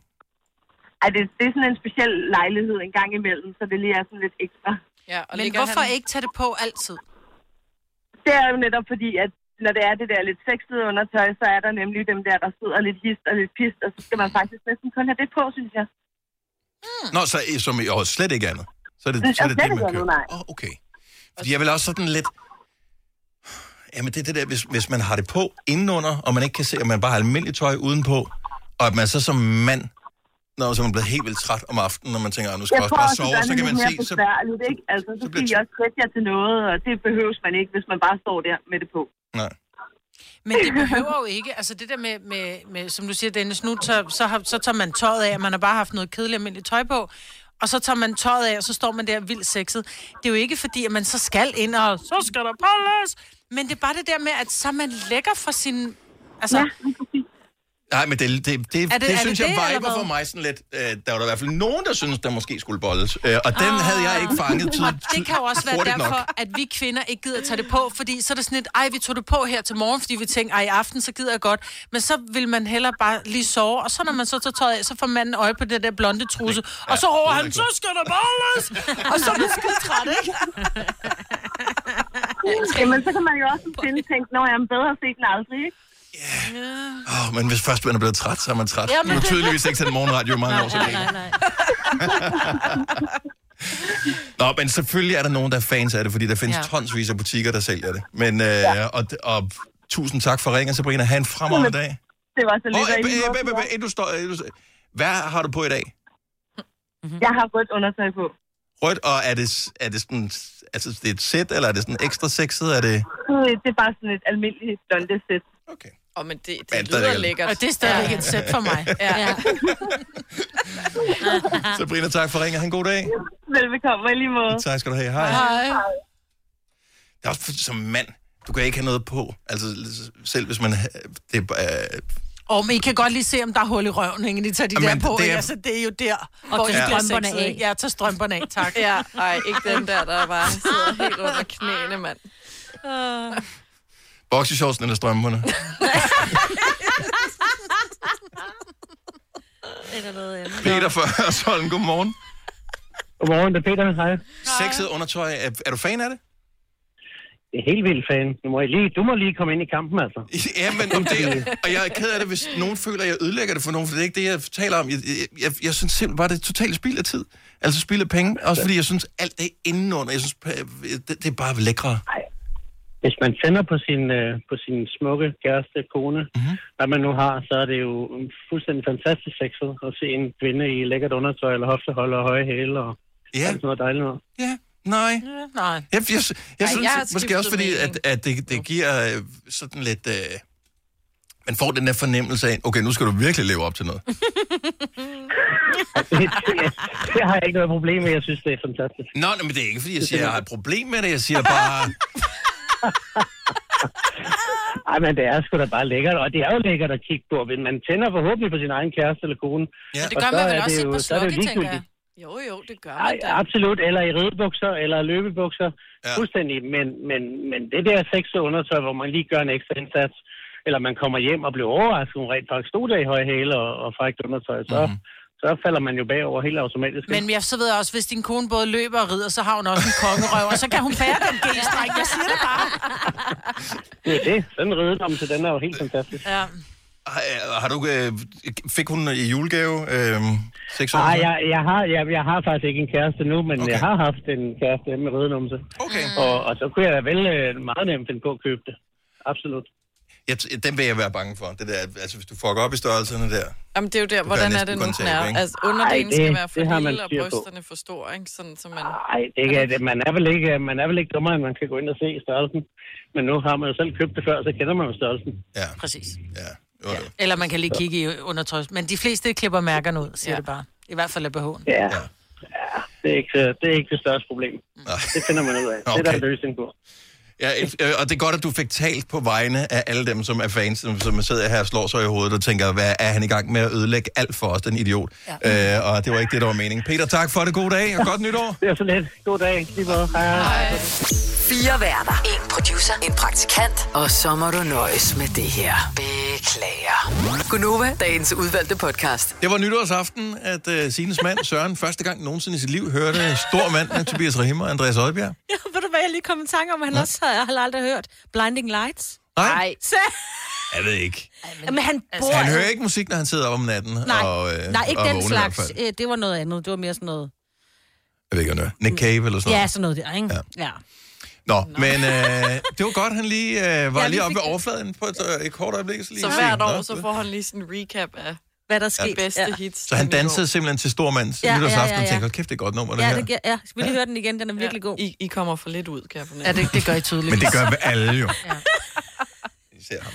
Q: Ej, det, det er sådan en speciel lejlighed en gang imellem, så det lige er sådan lidt ekstra.
B: Ja,
Q: og
C: Men
Q: ligger
C: hvorfor
Q: han-
C: ikke tage det på altid?
Q: Det er jo netop fordi, at når det er det der lidt sexede undertøj, så er der nemlig dem der, der sidder lidt hist og lidt pist, og så skal man faktisk næsten kun have det på, synes jeg.
A: Nå, så øh, som jo slet ikke andet. Så er det så er det, det man køber.
Q: nej.
A: Oh, okay. Fordi jeg vil også sådan lidt... Jamen, det er det der, hvis, hvis man har det på indenunder, og man ikke kan se, at man bare har almindeligt tøj udenpå, og at man så som mand, når så er man blevet helt vildt træt om aftenen, når man tænker, at nu skal jeg, også bare
Q: det
A: sove,
Q: gør
A: så
Q: det
A: kan man
Q: lidt
A: se,
Q: mere
A: så...
Q: besværligt, ikke? Altså, så, skal I også sætte jer til noget, og det behøves man ikke, hvis man bare står der med det på.
A: Nej.
C: Men det behøver jo ikke, altså det der med, med, med som du siger, Dennis, nu tager, så, har, så tager man tøjet af, og man har bare haft noget kedeligt almindeligt tøj på, og så tager man tøjet af, og så står man der vildt sexet. Det er jo ikke fordi, at man så skal ind, og så skal der bolles, men det er bare det der med, at så er man lækker for sin... Altså, ja,
A: Nej, men det, det, det,
C: Er
A: det,
C: det-
A: det
C: er
A: synes
C: det
A: jeg
C: det, eller
A: viber
C: hvad?
A: for mig sådan lidt. Øh, der var der i hvert fald nogen, der synes der måske skulle bolles. Øh, og den havde jeg ikke fanget tid.
C: Og det kan jo også være
A: hurtigt nok.
C: derfor, at vi kvinder ikke gider tage det på, fordi så er det sådan lidt, ej, vi tog det på her til morgen, fordi vi tænkte, ej, i aften, så gider jeg godt. Men så vil man hellere bare lige sove, og så når man så tager tøjet af, så får manden øje på det der blonde trusse, og så råber han, så skal der bolles! og så er man skide træt, ikke?
Q: Jamen, så kan man jo også finde tænke, når jeg er bedre set end aldrig, ikke?
A: Åh, men hvis først man er blevet træt, så er man træt.
Q: Ja,
A: Ja,
Q: men
A: men... Nu
Q: det-
A: tydeligvis ikke til morgenradio i mange år. Så længe.
Q: nej.
A: Nå, men selvfølgelig er der nogen, der er fans af det, fordi der findes
Q: Ja.
A: ja. tonsvis af butikker, der sælger det. Men, øh, ja. og, og tusind tak for ringen, Sabrina. Ha' en fremragende dag.
Q: Det var så lidt.
A: Og,
Q: og i
A: øh,
Q: lige måde,
A: øh, øh, øh, øh, du står, øh, du, hvad har du på i dag?
Q: Jeg har rødt undertøj på.
A: Rødt, og er det, s- er det sådan, altså, det er et sæt, eller er det sådan ekstra sexet? Er
S: Øh,
A: det...
Q: Det er bare sådan et almindeligt blondesæt.
A: Okay.
B: Åh, oh, men det,
A: Ja,
B: det
A: der er
B: lyder
A: det-
B: lækkert.
C: Og det er stadigvæk et sæt for mig.
B: Ja. ja.
A: Sabrina, tak for ringen. Ha' en god dag.
Q: Velbekomme i lige måde.
A: Tak skal du have. Hej.
Q: Hej.
A: Det er også for- som mand. Du kan ikke have noget på. Altså, selv hvis man... ha- Det, øh,
C: Og men I kan godt lige se, om der er hul i røven, ikke? De tager de
A: Jamen,
C: der på,
A: det
C: det
A: er-
C: er... altså det er jo der,
B: Og
C: hvor
B: tag
C: I bliver
B: strømperne
C: sexet,
B: af.
C: ikke? Ja, tag strømperne af, tak.
B: ja, ej, ikke den der, der bare sidder helt under knæene, mand.
A: Boxershortsen eller strømperne?
D: Eller noget andet.
A: Peter fra Hørsholm, godmorgen.
T: Godmorgen, det er Peter. Hej.
A: Sexet undertøj, er, er du fan af det?
T: Det er helt vildt, fan. Du må, lige, du må lige komme ind i kampen, altså.
A: Ja, men om det, og jeg er ked af det, hvis nogen føler, at jeg ødelægger det for nogen, for det er ikke det, jeg taler om. Jeg, jeg, jeg, jeg synes simpelthen bare, det er totalt spild af tid. Altså spild af penge. Også fordi jeg synes, alt det er indenunder. Jeg synes, øh, det, det er bare lækre.
T: Hvis man tænder på sin, øh, på sin smukke kæreste, kone, mm-hmm. hvad man nu har, så er det jo fuldstændig fantastisk sexet at se en kvinde i lækkert undertøj, eller hofteholder og høje hæle, og
A: yeah.
T: sådan noget dejligt noget.
A: Ja, nej.
C: Ja, nej.
A: Jeg, jeg, jeg
T: Ej,
A: synes
T: jeg
A: jeg
T: har
A: måske også,
T: skiftet
A: fordi at,
T: mening.
A: at det, det giver øh, sådan lidt... Øh, man får den der fornemmelse af, okay, nu skal du virkelig leve op til noget.
T: Det har jeg ikke noget problem med. Jeg synes, det er fantastisk.
A: Nå, nej, men det er ikke, fordi jeg siger, at jeg har et problem med det. Jeg siger bare...
T: Ej, men det er sgu da bare lækkert, og det er jo lækkert at kigge på. Men man tænder forhåbentlig på sin egen kæreste eller kone.
A: Ja,
B: Men det gør man vel også i på slukke, tænker jeg.
T: ligegyldigt.
B: Jo, jo, det gør
T: Ej,
B: man da.
T: absolut, eller i ridebukser, eller løbebukser, ja. fuldstændig. Men, men, men det der sexede undertøj, hvor man lige gør en ekstra indsats, eller man kommer hjem og bliver overrasket, hun rent faktisk stod der i høje hæle og, og frækt undertøj, så, mm-hmm. så falder man jo bagover helt automatisk.
C: Men jeg så ved jeg også, hvis din kone både løber og rider, så har hun også en kongerøv, og så kan hun bære den g-streng. Jeg siger det bare.
T: Det er det. Den ridedom til den er jo helt fantastisk.
C: Ja.
A: Har, har du, øh, fik hun i julegave øh, sex
T: Nej, jeg, jeg, har, jeg, jeg har faktisk ikke en kæreste nu, men okay. jeg har haft en kæreste med ridenumse.
A: Okay.
T: Og, og så kunne jeg da vel øh, meget nemt finde på at købe det. Absolut.
A: Jeg, t- den vil jeg være bange for. Det der, altså, hvis du fucker op i størrelserne der.
B: Jamen, det er jo der,
A: Du
B: hvordan
A: kan
B: er det nu,
A: næsten kun
B: den
A: tabe,
B: er.
A: ikke?
B: Altså, underdelen
T: Ej, det-
B: skal være
T: det har
B: for
T: man
B: lille, og
T: styr på.
B: brysterne for store, ikke? Sådan, så man...
T: Nej, det er ikke, det, man, er vel ikke, man er vel ikke dummere, end man kan gå ind og se størrelsen. Men nu har man jo selv købt det før, så kender man jo størrelsen.
A: Ja.
C: Præcis.
A: Ja.
C: Eller man kan lige kigge i undertøj. Men de fleste klipper mærkerne ud, siger ja. det bare. I hvert fald af BH'en.
T: Ja. ja. Det er, ikke, det er ikke det største problem. Det finder man ud af. Okay. Det er der en løsning på.
A: Ja, et, øh, og det er godt, at du fik talt på vegne af alle dem, som er fans, som, som sidder her og slår sig i hovedet og tænker, hvad er han i gang med at ødelægge alt for os, den idiot. Ja. Øh, og det var ikke det, der var meningen. Peter, tak for det. God dag og godt nytår.
T: Det er så let. God dag. Lige måde. Hej.
F: Fire værter. En producer. En praktikant. Og så må du nøjes med det her. Beklager. Gunova, dagens udvalgte podcast.
A: Det var nytårsaften, at uh, Sines mand, Søren, første gang nogensinde i sit liv hørte stor mand med Tobias Rahim og Andreas Højbjerg.
D: Ja, ved du hvad, jeg lige kom i tanke om, at han
A: Nå.
D: også havde, jeg har aldrig hørt Blinding Lights.
A: Nej.
D: Så,
A: Jeg ved ikke.
D: men Altså, han bor...
A: Han hører ikke musik, når han sidder op om natten.
D: Nej,
A: og, øh,
D: nej ikke
A: og er
D: den
A: vågen i hvert
D: slags.
A: fald.
D: Øh, Det var noget andet. Det var mere sådan noget...
A: Jeg ved ikke, om det er. Nick Cave eller sådan noget.
D: Ja, sådan noget der, ikke? Ja. ja.
A: Nå, men øh, det var godt, han lige øh, var
B: Ja,
A: ja,
B: vi
A: lige oppe
B: fik
A: ved overfladen på et, øh, et kort øjeblik. lige
B: Så
A: se,
B: hvert
A: nå,
B: år, så
A: det-
B: får han lige sådan en recap af
D: hvad der
A: skete.
B: bedste
D: Ja.
B: hits.
A: Så han dansede simpelthen til stormands
D: Ja, ja,
A: ja, nytårsaften
D: ja, ja.
A: ja, ja, ja. og tænkte, "Hold kæft, det er et godt nummer, det,
D: Ja,
A: her.
D: det, gi- ja, skal vi lige høre den igen? Den er virkelig god.
B: I, I kommer for lidt ud, kan jeg fornemme.
C: Ja, det, det gør I tydeligt.
A: Men det gør vi alle jo. Ja. Især ham.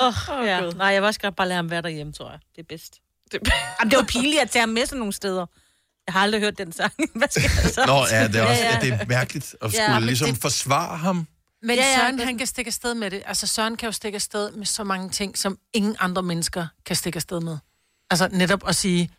D: Åh, oh, ja. Nej, jeg vil også godt bare lade ham være derhjemme, tror jeg. Det er bedst. Det, Jamen, det var pinligt at tage ham med sådan nogle steder. Jeg har aldrig hørt den sang. Hvad skal jeg så?
A: Nå, ja, det er, også, ja, det er mærkeligt at
D: Ja,
A: skulle ja,
D: men
A: ligesom
D: det-
A: det... forsvare ham.
D: Ja,
C: Men ja,
D: ja,
C: ja, Søren,
D: det er
C: han kan stikke afsted med det. Altså, Søren kan jo stikke afsted med så mange ting, som ingen andre mennesker kan stikke afsted med. Altså, netop at sige,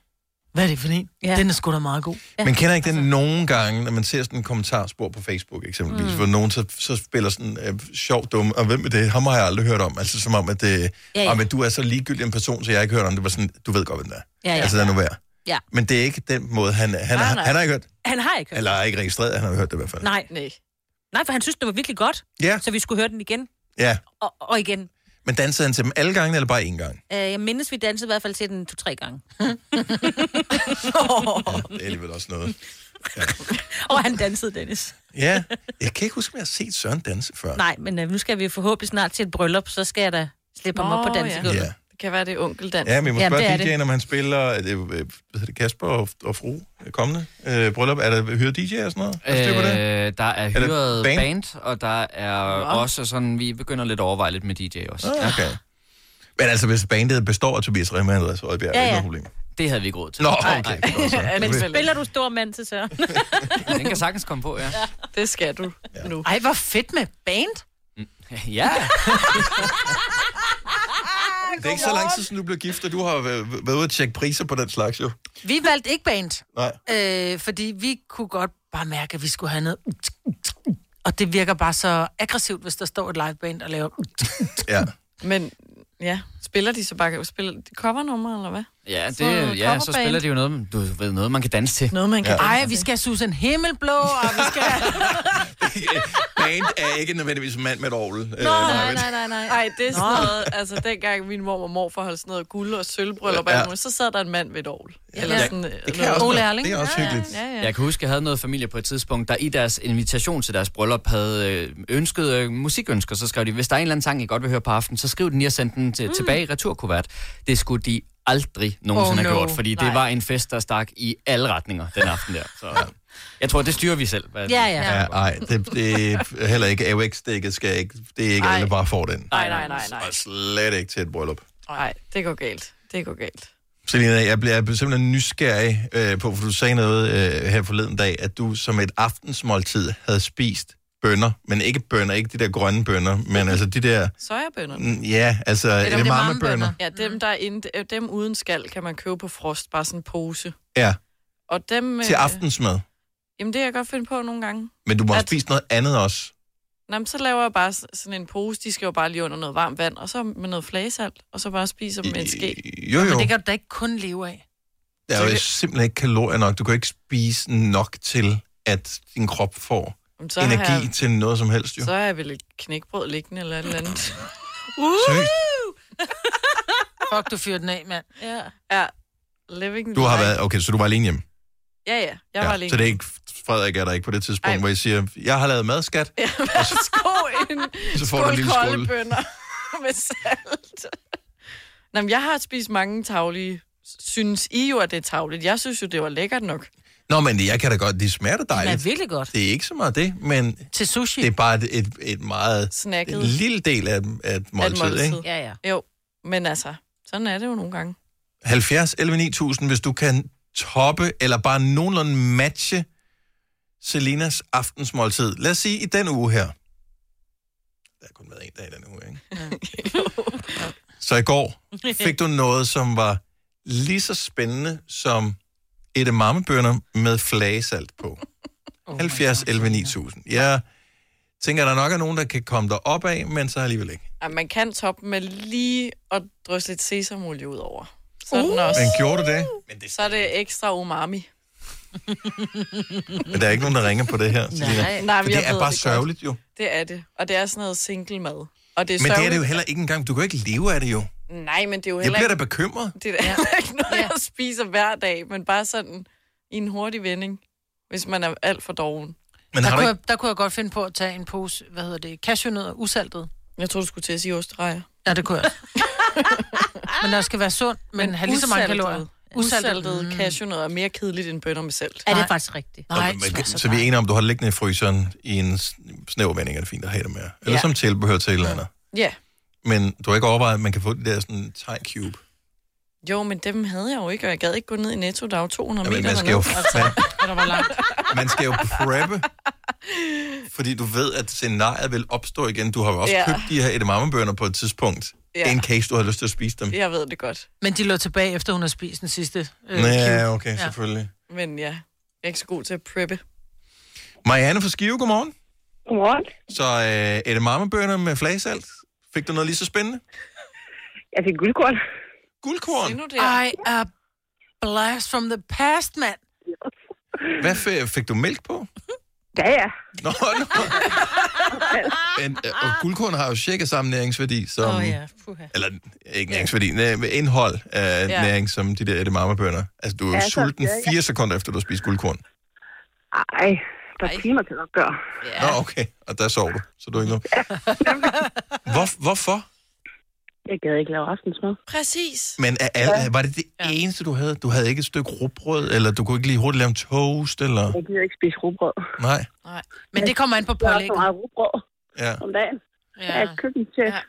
C: hvad er det for en? Ja. Den er sgu da meget god.
A: Ja. Man kender ikke
D: Altså-
A: det nogle gange, når man ser sådan en kommentarspor på Facebook eksempelvis, mm.
C: Mm.
A: hvor nogen så, så spiller sådan øh, sjov dumme, og hvem er det? Ham har jeg aldrig hørt om. Altså som om, at, øh, ja,
D: ja.
A: ja. Om, at du er så ligegyldig en person, så jeg har ikke hørt om det. det. Var sådan, du ved godt, hvem det er.
D: Ja, ja.
A: Altså, det er nu værd.
D: Ja.
A: Men det er ikke den måde, han, han,
D: Nej,
A: han,
D: nej.
A: han har ikke hørt.
D: Han har ikke hørt
A: Eller er ikke registreret, han har hørt det i hvert fald.
D: Nej.
B: Nej.
D: Nej, for han synes, det var virkelig godt.
A: Ja.
D: Så vi skulle høre den igen
A: Ja,
D: og, og igen.
A: men dansede han til dem alle gange, eller bare én gang?
D: Øh, jeg mindes, vi dansede i hvert fald til den to-tre gange.
A: Det er alligevel også noget.
D: og han dansede, Dennis.
A: Ja, jeg kan ikke huske, om jeg har set Søren danse før.
D: Nej, men øh, nu skal vi forhåbentlig snart til et bryllup, så skal jeg da slippe ham op på dansegulvet.
A: Ja.
B: Det kan være, det er onkeldans.
A: Ja, men jeg må spørge
D: det er
A: DJ'en,
D: det.
A: om han spiller er det, øh, hvad hedder det, Kasper og, og fru øh, kommende øh, bryllup. Er der hyret DJ og sådan noget? Er der styr på det?
R: Øh, der er
A: det
R: hyret
A: band?
R: band? band, og der er
A: Nå.
R: wow. også sådan, vi begynder lidt at overveje lidt med DJ også.
A: Ah, okay. Men altså, hvis bandet består af Tobias Rehmann og Andreas Rødbjerg,
D: Ja,
A: ja, ja. er
D: ja.
A: det problem.
R: Det havde vi ikke råd til.
A: Nå, okay. det er godt så.
D: Men spiller du stor mand til Søren?
R: Den kan sagtens komme på, ja.
B: Det skal du ja. nu.
C: Ej, hvor fedt med band.
R: Ja.
A: Det er ikke så lang tid, siden du blev gift, og du har været været ude at tjekke priser på den slags, jo.
C: Vi valgte ikke band,
A: Nej.
C: øh, fordi vi kunne godt bare mærke, at vi skulle have noget... Og det virker bare så aggressivt, hvis der står et liveband og laver...
A: Ja.
B: Men ja, spiller de så bare spiller de covernumre, eller hvad?
R: Ja, det,
B: Så er der
R: ja, så
B: coverband.
R: spiller de jo noget, men du ved, noget man kan danse til.
B: Noget, man
C: Ja. Ej, vi skal have Susan Himmelblå, og vi skal...
A: Band er ikke nødvendigvis en mand med et orgel. øh,
R: Øh,
A: Nå,
B: nej, nej, nej, nej. Ej, det er sådan
A: Nå.
B: noget, altså dengang min mor og morfar holdt sådan noget guld og sølvbryllup,
R: Ja.
B: ja. så sad der en mand ved et ovl. Eller
R: Ja.
B: sådan,
R: Det
B: øh,
R: kan
B: noget.
R: også Ole være- Erling. det er også
B: ja,
R: hyggeligt.
B: Ja, ja, ja.
R: Jeg kan huske, jeg havde noget familie på et tidspunkt, der i deres invitation til deres bryllup havde øh, ønsket øh, musikønsker. Så skrev de, hvis der er en eller anden sang, I godt vil høre på aftenen, så skriv den lige og send den til, mm. tilbage i returkuvert. Det skulle de aldrig nogensinde
C: Oh,
R: have
C: no.
R: gjort, fordi Nej.
C: Nej.
R: det var en fest, der stak i alle retninger den aften der. Så, jeg tror, det styrer vi selv. Hvad,
C: Ja, ja.
A: Ja, nej, det, det er heller ikke AUX-dækket skal ikke, det er ikke
B: Ej.
A: alle, der bare får den.
B: Nej, nej, nej, nej.
A: Og slet ikke til et bryllup.
B: Nej, det går galt. Det går galt.
A: Selina, jeg bliver jeg bliver simpelthen nysgerrig øh, på, for du sagde noget øh, her forleden dag, at du som et aftensmåltid havde spist bønner, men ikke bønner, ikke de der grønne bønner, men altså de der,
B: Sojabønderne.
A: mm, ja, altså edamamebønner.
B: Ja, dem, der er inde, øh, dem uden skal, kan man købe på frost, bare sådan en pose.
A: Ja,
B: Og dem...
A: til
B: øh,
A: aftensmad.
B: Jamen, det kan jeg godt finde på nogle gange.
A: Men du må at... spise noget andet også.
B: Nå, men så laver jeg bare s- sådan en pose, de skal jo bare lige under noget varmt vand, og så med noget flagesalt, og så bare spiser dem med en ske.
A: jo, jo.
C: Men det kan du da ikke kun leve af.
A: Der er jo simpelthen ikke kalorier nok. Du kan ikke spise nok til, at din krop får
B: Jamen, så har
A: energi
B: jeg-
A: til noget som helst, jo.
B: Så er jeg vel et knækbrød liggende eller et eller andet.
C: Uh!
A: Seriøst?
C: Fuck, du fyrer den af, mand.
B: Ja. ja. Living
A: Du har
B: the
A: været, okay, så du var alene hjemme.
B: Ja, ja. Jeg var alene.
A: Så det er ikke, Frederik er der ikke på det tidspunkt, Ej. hvor I siger, jeg har lavet madskat.
B: Ja, værsgo en
A: Så får du en
B: skål
A: lille skål.
B: kolde bønner med salt. Nå, men jeg har spist mange taglige. Synes I jo, at det er tagligt? Jeg synes jo, det var lækkert nok.
A: Nå, men jeg kan da godt, de smager da dejligt.
B: Det er virkelig godt.
A: Det er ikke så meget det, men
C: Til sushi.
A: det er bare et, et, et meget
B: Snacket.
A: en lille del af, af et måltid, måltid, ikke?
B: Ja, ja. Jo, men altså, sådan er det jo nogle gange.
A: 70 11 9000, hvis du kan toppe eller bare nogenlunde matche Selinas aftensmåltid. Lad os sige i den uge her. Der er kun været en dag i den uge, ikke? så i går fik du noget, som var lige så spændende som et mammebønder med flagesalt på. Oh 70 11 9000. Jeg tænker, der nok er nogen, der kan komme dig op af, men så alligevel ikke.
B: Ej, man kan toppe med lige at drysse lidt sesamolie ud over. Så, er den også,
A: Uh! Men gjorde du det?
B: så er det ekstra umami.
A: Men der er ikke nogen, der ringer på det her. Selina.
B: Nej, men
A: For
B: jeg
A: det
B: ved
A: er bare
B: det
A: sørgeligt, jo.
B: Det er det. Og det er sådan noget single mad. Og det er
A: Men det er det jo
B: sørgeligt.
A: heller ikke engang. Du kan jo ikke leve af det jo.
B: Nej, men det er jo
A: Jeg
B: heller
A: bliver da
B: ikke...
A: bekymret.
B: Det er ja. ikke noget, jeg spiser hver dag, men bare sådan i en hurtig vending, hvis man er alt for doven.
A: Men
C: der,
A: har du
C: kunne jeg, der kunne jeg godt finde på at tage en pose, hvad hedder det, cashewnødder, usaltet.
B: Jeg tror du skulle til at sige ostrejer.
C: Ja, det kunne jeg. men når jeg skal være sund, men, men have lige så mange kalorier.
B: Usaltet, usaltet mm. cashewnødder er mere kedeligt end bønner med salt.
D: Er det faktisk rigtigt?
A: Nå, men- men- så vi er enige om, du har det liggende i fryseren i en s- snæver vending, er det fint at have det med. Eller
B: Ja.
A: ja. som tilbehør til et eller andet.
B: Ja.
A: Men du har ikke overvejet, at man kan få det der sådan thai cube.
B: Jo, men dem havde jeg jo ikke, og jeg gad ikke gå ned i Netto, der er jo 200
A: Jamen,
B: meter
A: man skal jo
B: dernede.
A: fat-
B: der var langt.
A: Man skal jo preppe Fordi du ved, at scenariet vil opstå igen. Du har jo også
B: Ja.
A: ja. købt de her edamamebønner på et tidspunkt.
C: Ja.
A: Ja. In case du har lyst til at spise dem.
B: Jeg ved det godt.
C: Men de lå tilbage, efter hun har spist den sidste øh,
A: Ja,
C: cube.
A: okay, selvfølgelig.
B: Men ja, jeg er ikke så god til at preppe.
A: Marianne fra Skive, godmorgen.
Q: Godmorgen.
A: Så øh, edamamebønner med flagesalt. Fik du noget lige så spændende?
Q: Jeg fik guldkorn.
A: Guldkorn?
C: I a blast from the past, mand.
A: Hvad fik, fik du mælk på?
Q: Ja, ja.
A: Nå, nå.
Q: Ah,
A: Men, øh, og guldkorn har jo cirka samme næringsværdi som...
C: Åh, ja, puha.
A: Eller ikke næringsværdi, næ- med indhold af
Q: Ja.
A: ja. næring som de der edamamebønner. Altså, du er jo
Q: Ja, så-
A: sulten
Q: ja, ja.
A: fire sekunder efter, du har spist guldkorn.
Q: Ej, der er timer til at gøre.
A: Ja. Nå, okay. Og der sov du, så du er ikke nu. Hvor, hvorfor?
Q: Jeg gad ikke lave aftensmad.
B: Præcis.
A: Men er, er, var det det ja. eneste, du havde? Du havde ikke et stykke rugbrød, eller du kunne ikke lige hurtigt lave en toast, eller...
Q: Jeg gider ikke spise rugbrød.
A: Nej,
C: Nej. Men det kommer an på
Q: Jeg har så
C: pålægget.
Q: meget rugbrød
A: ja.
Q: om dagen. Ja. Jeg er køkkenchef. Ja.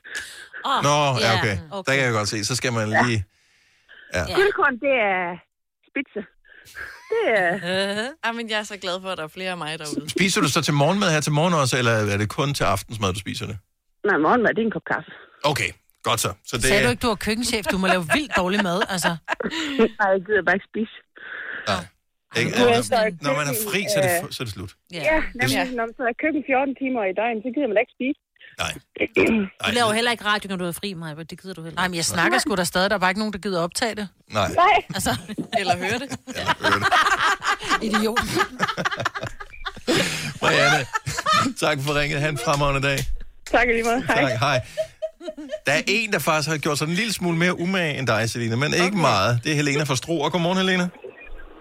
D: Oh,
A: Nå, ja, okay. Der kan jeg godt se. Så skal man lige... Ja.
Q: Guldkorn, det er spidse. Det er...
B: Uh-huh. Ej, men jeg er så glad for, at der er flere af mig derude.
A: Spiser du så til morgenmad her til morgen også, eller er det kun til aftensmad, du spiser det?
Q: Nej, morgenmad, det er en kop kaffe.
A: Okay, godt så. så det,
C: Sagde du ikke, du er køkkenchef? Du må lave vildt dårlig mad, altså.
Q: Nej, jeg gider bare ikke spise.
A: Ikke,
Q: Du er
A: når,
Q: så et
A: når man er
Q: køkken,
A: fri, så er det,
Q: øh,
A: fu- så er det slut.
Q: Ja, ja nemlig. Når man så er i køkken 14 timer i døgnet, så gider man da ikke spise.
D: Du laver jo heller ikke radio, når du er fri, Maja. Det gider du heller ikke.
C: Nej, men jeg snakker sgu da stadig. Der er bare ikke nogen, der gider optage det.
A: Nej.
Q: Nej.
C: Altså.
B: Eller høre det.
C: Idiot.
A: Marianne, tak for ringet. Han fremragende dag.
Q: Tak lige meget. Hej.
A: Tak, hej. Der er en, der faktisk har gjort sig en lille smule mere umage end dig, Selina, men ikke meget. Det er Helena fra Struer. Godmorgen, Helena.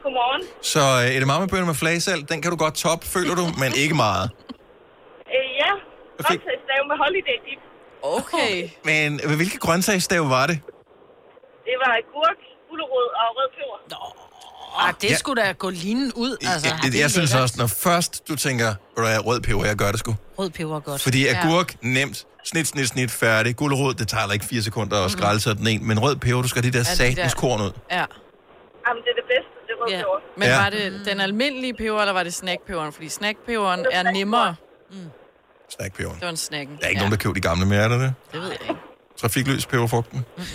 S: Godmorgen.
A: Så øh, edamamebønner med flagesalt, den kan du godt top, føler du, men ikke meget.
S: Øh, ja, grøntsagsstave med holiday dip.
B: Okay.
A: Men øh, hvilke grøntsagsstave var det?
S: Det var agurk, gulerod og rød peber. Nå.
C: Ah, det
A: Ja.
C: skulle da gå linen ud, altså.
A: Jeg, jeg, jeg synes også, når først du tænker, "Ved du hvad, rød peber, jeg gør det sgu.
D: Rød peber er godt.
A: Fordi agurk, nemt. Snit, snit, snit, færdig. Gulerod, det tager da ikke fire sekunder at skrælle sig den en. Men rød peber, du skal have de der
B: Mhm. Ja, de
A: satans
B: der-
A: korn ud.
B: Ja.
S: Jamen, det er det bedste, det røde
B: ja.
S: peber.
B: Men
A: Ja.
B: var det den almindelige peber, eller var det snackpeberen? Fordi snackpeberen er nemmere.
A: Snackpeberen.
B: Det var en snacken.
A: Der er ikke ja. nogen, der køber de gamle mere, er der det?
B: Det ved jeg ikke.
A: Trafikløs peberfrugten.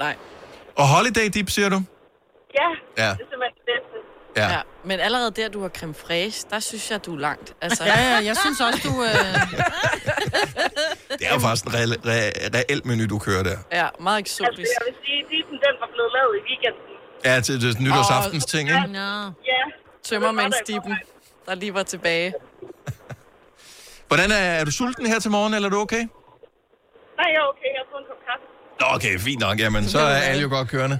B: Nej.
A: Og holiday dip, siger du?
S: Ja, det er
A: Ja.
S: simpelthen det bedste.
A: Ja.
B: ja. Men allerede der, du har creme fraiche, der synes jeg, du er langt. Altså,
C: Ja, ja, jeg synes også, du... Øh...
A: Det er jo faktisk en reelle- re- reelt menu, du kører der.
B: Ja, meget eksotisk.
S: Altså, jeg vil sige, at dippen, den var blevet lavet i weekenden.
A: Ja, til, til nytårsaftens ting, ikke?
S: Ja.
B: Tømmermandsdippen, der lige var tilbage.
A: Hvordan er, er du sulten her til morgen, eller er du okay?
S: Nej, jeg er okay. Jeg har fået en kop kaffe.
A: Nå, okay, fint nok. Jamen, så er alle jo godt kørende.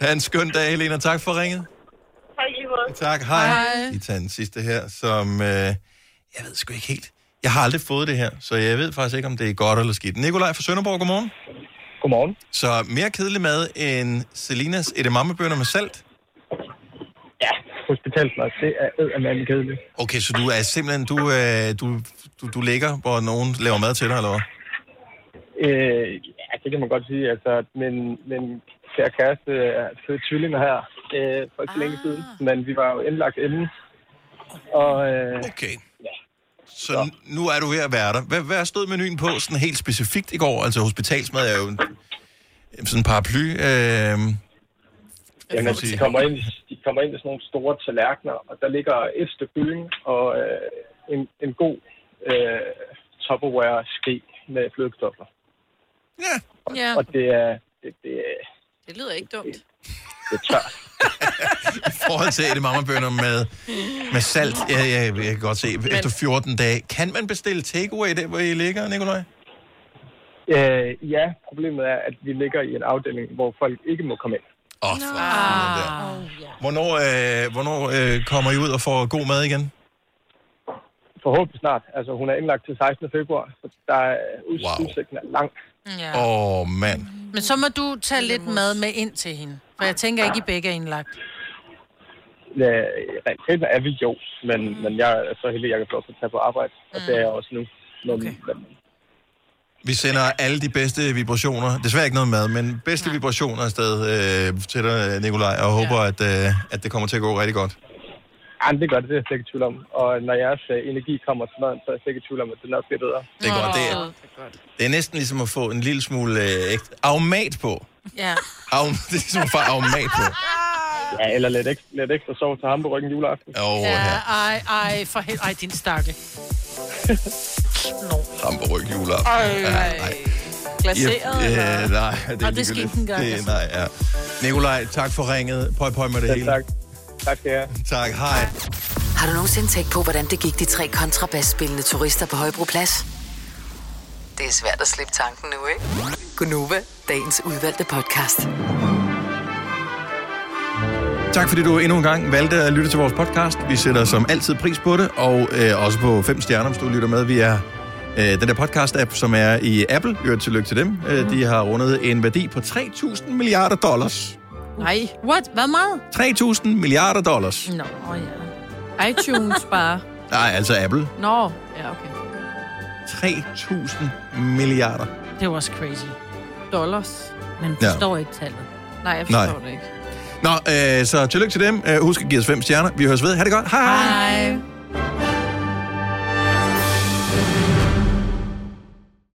A: Ha' en skøn dag, Helena. Tak for ringet.
S: Tak i lige måde.
A: Tak, hej. hej. Vi tager den sidste her, som... Øh, jeg ved sgu ikke helt. Jeg har aldrig fået det her, så jeg ved faktisk ikke, om det er godt eller skidt. Nikolaj fra Sønderborg, godmorgen.
U: Godmorgen.
A: Så mere kedelig mad end Selinas edamamebønner med salt?
U: Hospitalsmad, det er eddermame kedeligt.
A: Okay, så du er simpelthen... Du, øh, du, du, du ligger, hvor nogen laver mad til dig, eller hvad?
U: Øh, ja, det kan man godt sige. Altså, min, min kære kæreste er født tvillinger her øh, for ikke så længe siden, men vi var jo indlagt inden. Og, øh,
A: okay. Så n- nu er du ved at være der. Hvad, hvad stod menuen på sådan helt specifikt i går? Altså hospitalsmad er jo en, sådan en paraply. Øh,
U: Jamen,
A: man
U: altså,
A: sige.
U: de, kommer ind, de kommer ind i sådan nogle store tallerkener, og der ligger et stykke byen og øh, en, en god øh, Tupperware-ske med flødekartofler.
B: Ja,
U: Og det er, det, det, er,
B: det lyder ikke dumt.
U: det er tørt.
A: i forhold til edamamebønner med,
B: Mm.
A: med salt. Ja, ja, jeg kan godt se. Efter 14 dage. Kan man bestille takeaway der, hvor I ligger, Nikolaj?
U: Øh, ja, problemet er, at vi ligger i en afdeling, hvor folk ikke må komme ind.
A: Åh, oh, for fanden der. Hvornår, øh, hvornår øh, kommer I ud og får god mad igen?
U: Forhåbentlig snart. Altså, hun er indlagt til 16. februar, så der er uds- wow. udsigten er lang.
C: Mm, Ja.
A: Åh, oh, mand.
C: Men så må du tage lidt mad med ind til hende. For jeg tænker ikke, I begge er indlagt.
U: Ja, rent set er vi jo, men, mm. men jeg er så heldig, at jeg kan få lov til at tage på arbejde, og det er jeg også nu. Men, okay. men,
A: Vi sender alle de bedste vibrationer. Desværre ikke noget mad, men bedste vibrationer afsted øh, til dig, Nikolaj, og håber, at, øh, at det kommer til at gå rigtig godt.
U: Ja, men det gør det, det er jeg slet ikke i tvivl om. Og når jeres øh, energi kommer til maden, så er jeg slet ikke i tvivl om, at det nok bliver bedre.
A: Det er godt, det er- Det er næsten ligesom at få en lille smule øh, ægte aromat på.
C: Ja.
A: Arom, det er ligesom at få aromat på.
U: Ja, eller lidt ekstra, lidt ekstra sovs til hamburgeren juleaften.
A: Åh, oh,
C: Ja, ej, ej, for hel... Ej, din stakke.
A: hamburg juleaften.
C: Ej.
B: Glaseret,
A: Ja,
B: eller?
A: ja, nej, det er
B: Og det skal
A: ligegyldigt.
B: ikke engang,
A: Det,
B: altså.
A: nej, ja. Nikolaj, tak for ringet. Pøj, pøj med det hele. Tak.
U: Tak skal jeg.
A: Tak, hej.
F: Har du nogensinde tænkt på, hvordan det gik de tre kontrabasspillende turister på Højbroplads? Det er svært at slippe tanken nu, ikke? Gunova, dagens udvalgte podcast.
A: Tak fordi du endnu en gang valgte at lytte til vores podcast. Vi sætter som altid pris på det, og øh, også på fem stjerner, hvis du lytter med. Vi er øh, den der podcast-app, som er i Apple. Hørt tillykke til dem. Øh, de har rundet en værdi på 3.000 milliarder dollars.
C: Nej. What? Hvad meget?
A: 3.000 milliarder dollars.
C: Nå, oh,
B: ja. iTunes bare.
A: Nej, altså Apple.
B: Nå, ja, okay.
A: 3.000 milliarder.
C: Det var også crazy.
B: Dollars.
D: Man
A: Ja.
D: forstår ja. ikke tallet.
B: Nej, jeg
A: Nej.
B: forstår Nej. det ikke.
A: Nå, øh, så tillykke til dem. Øh, husk at give os fem stjerner. Vi høres ved. Ha' det godt. Hej.
B: Hej.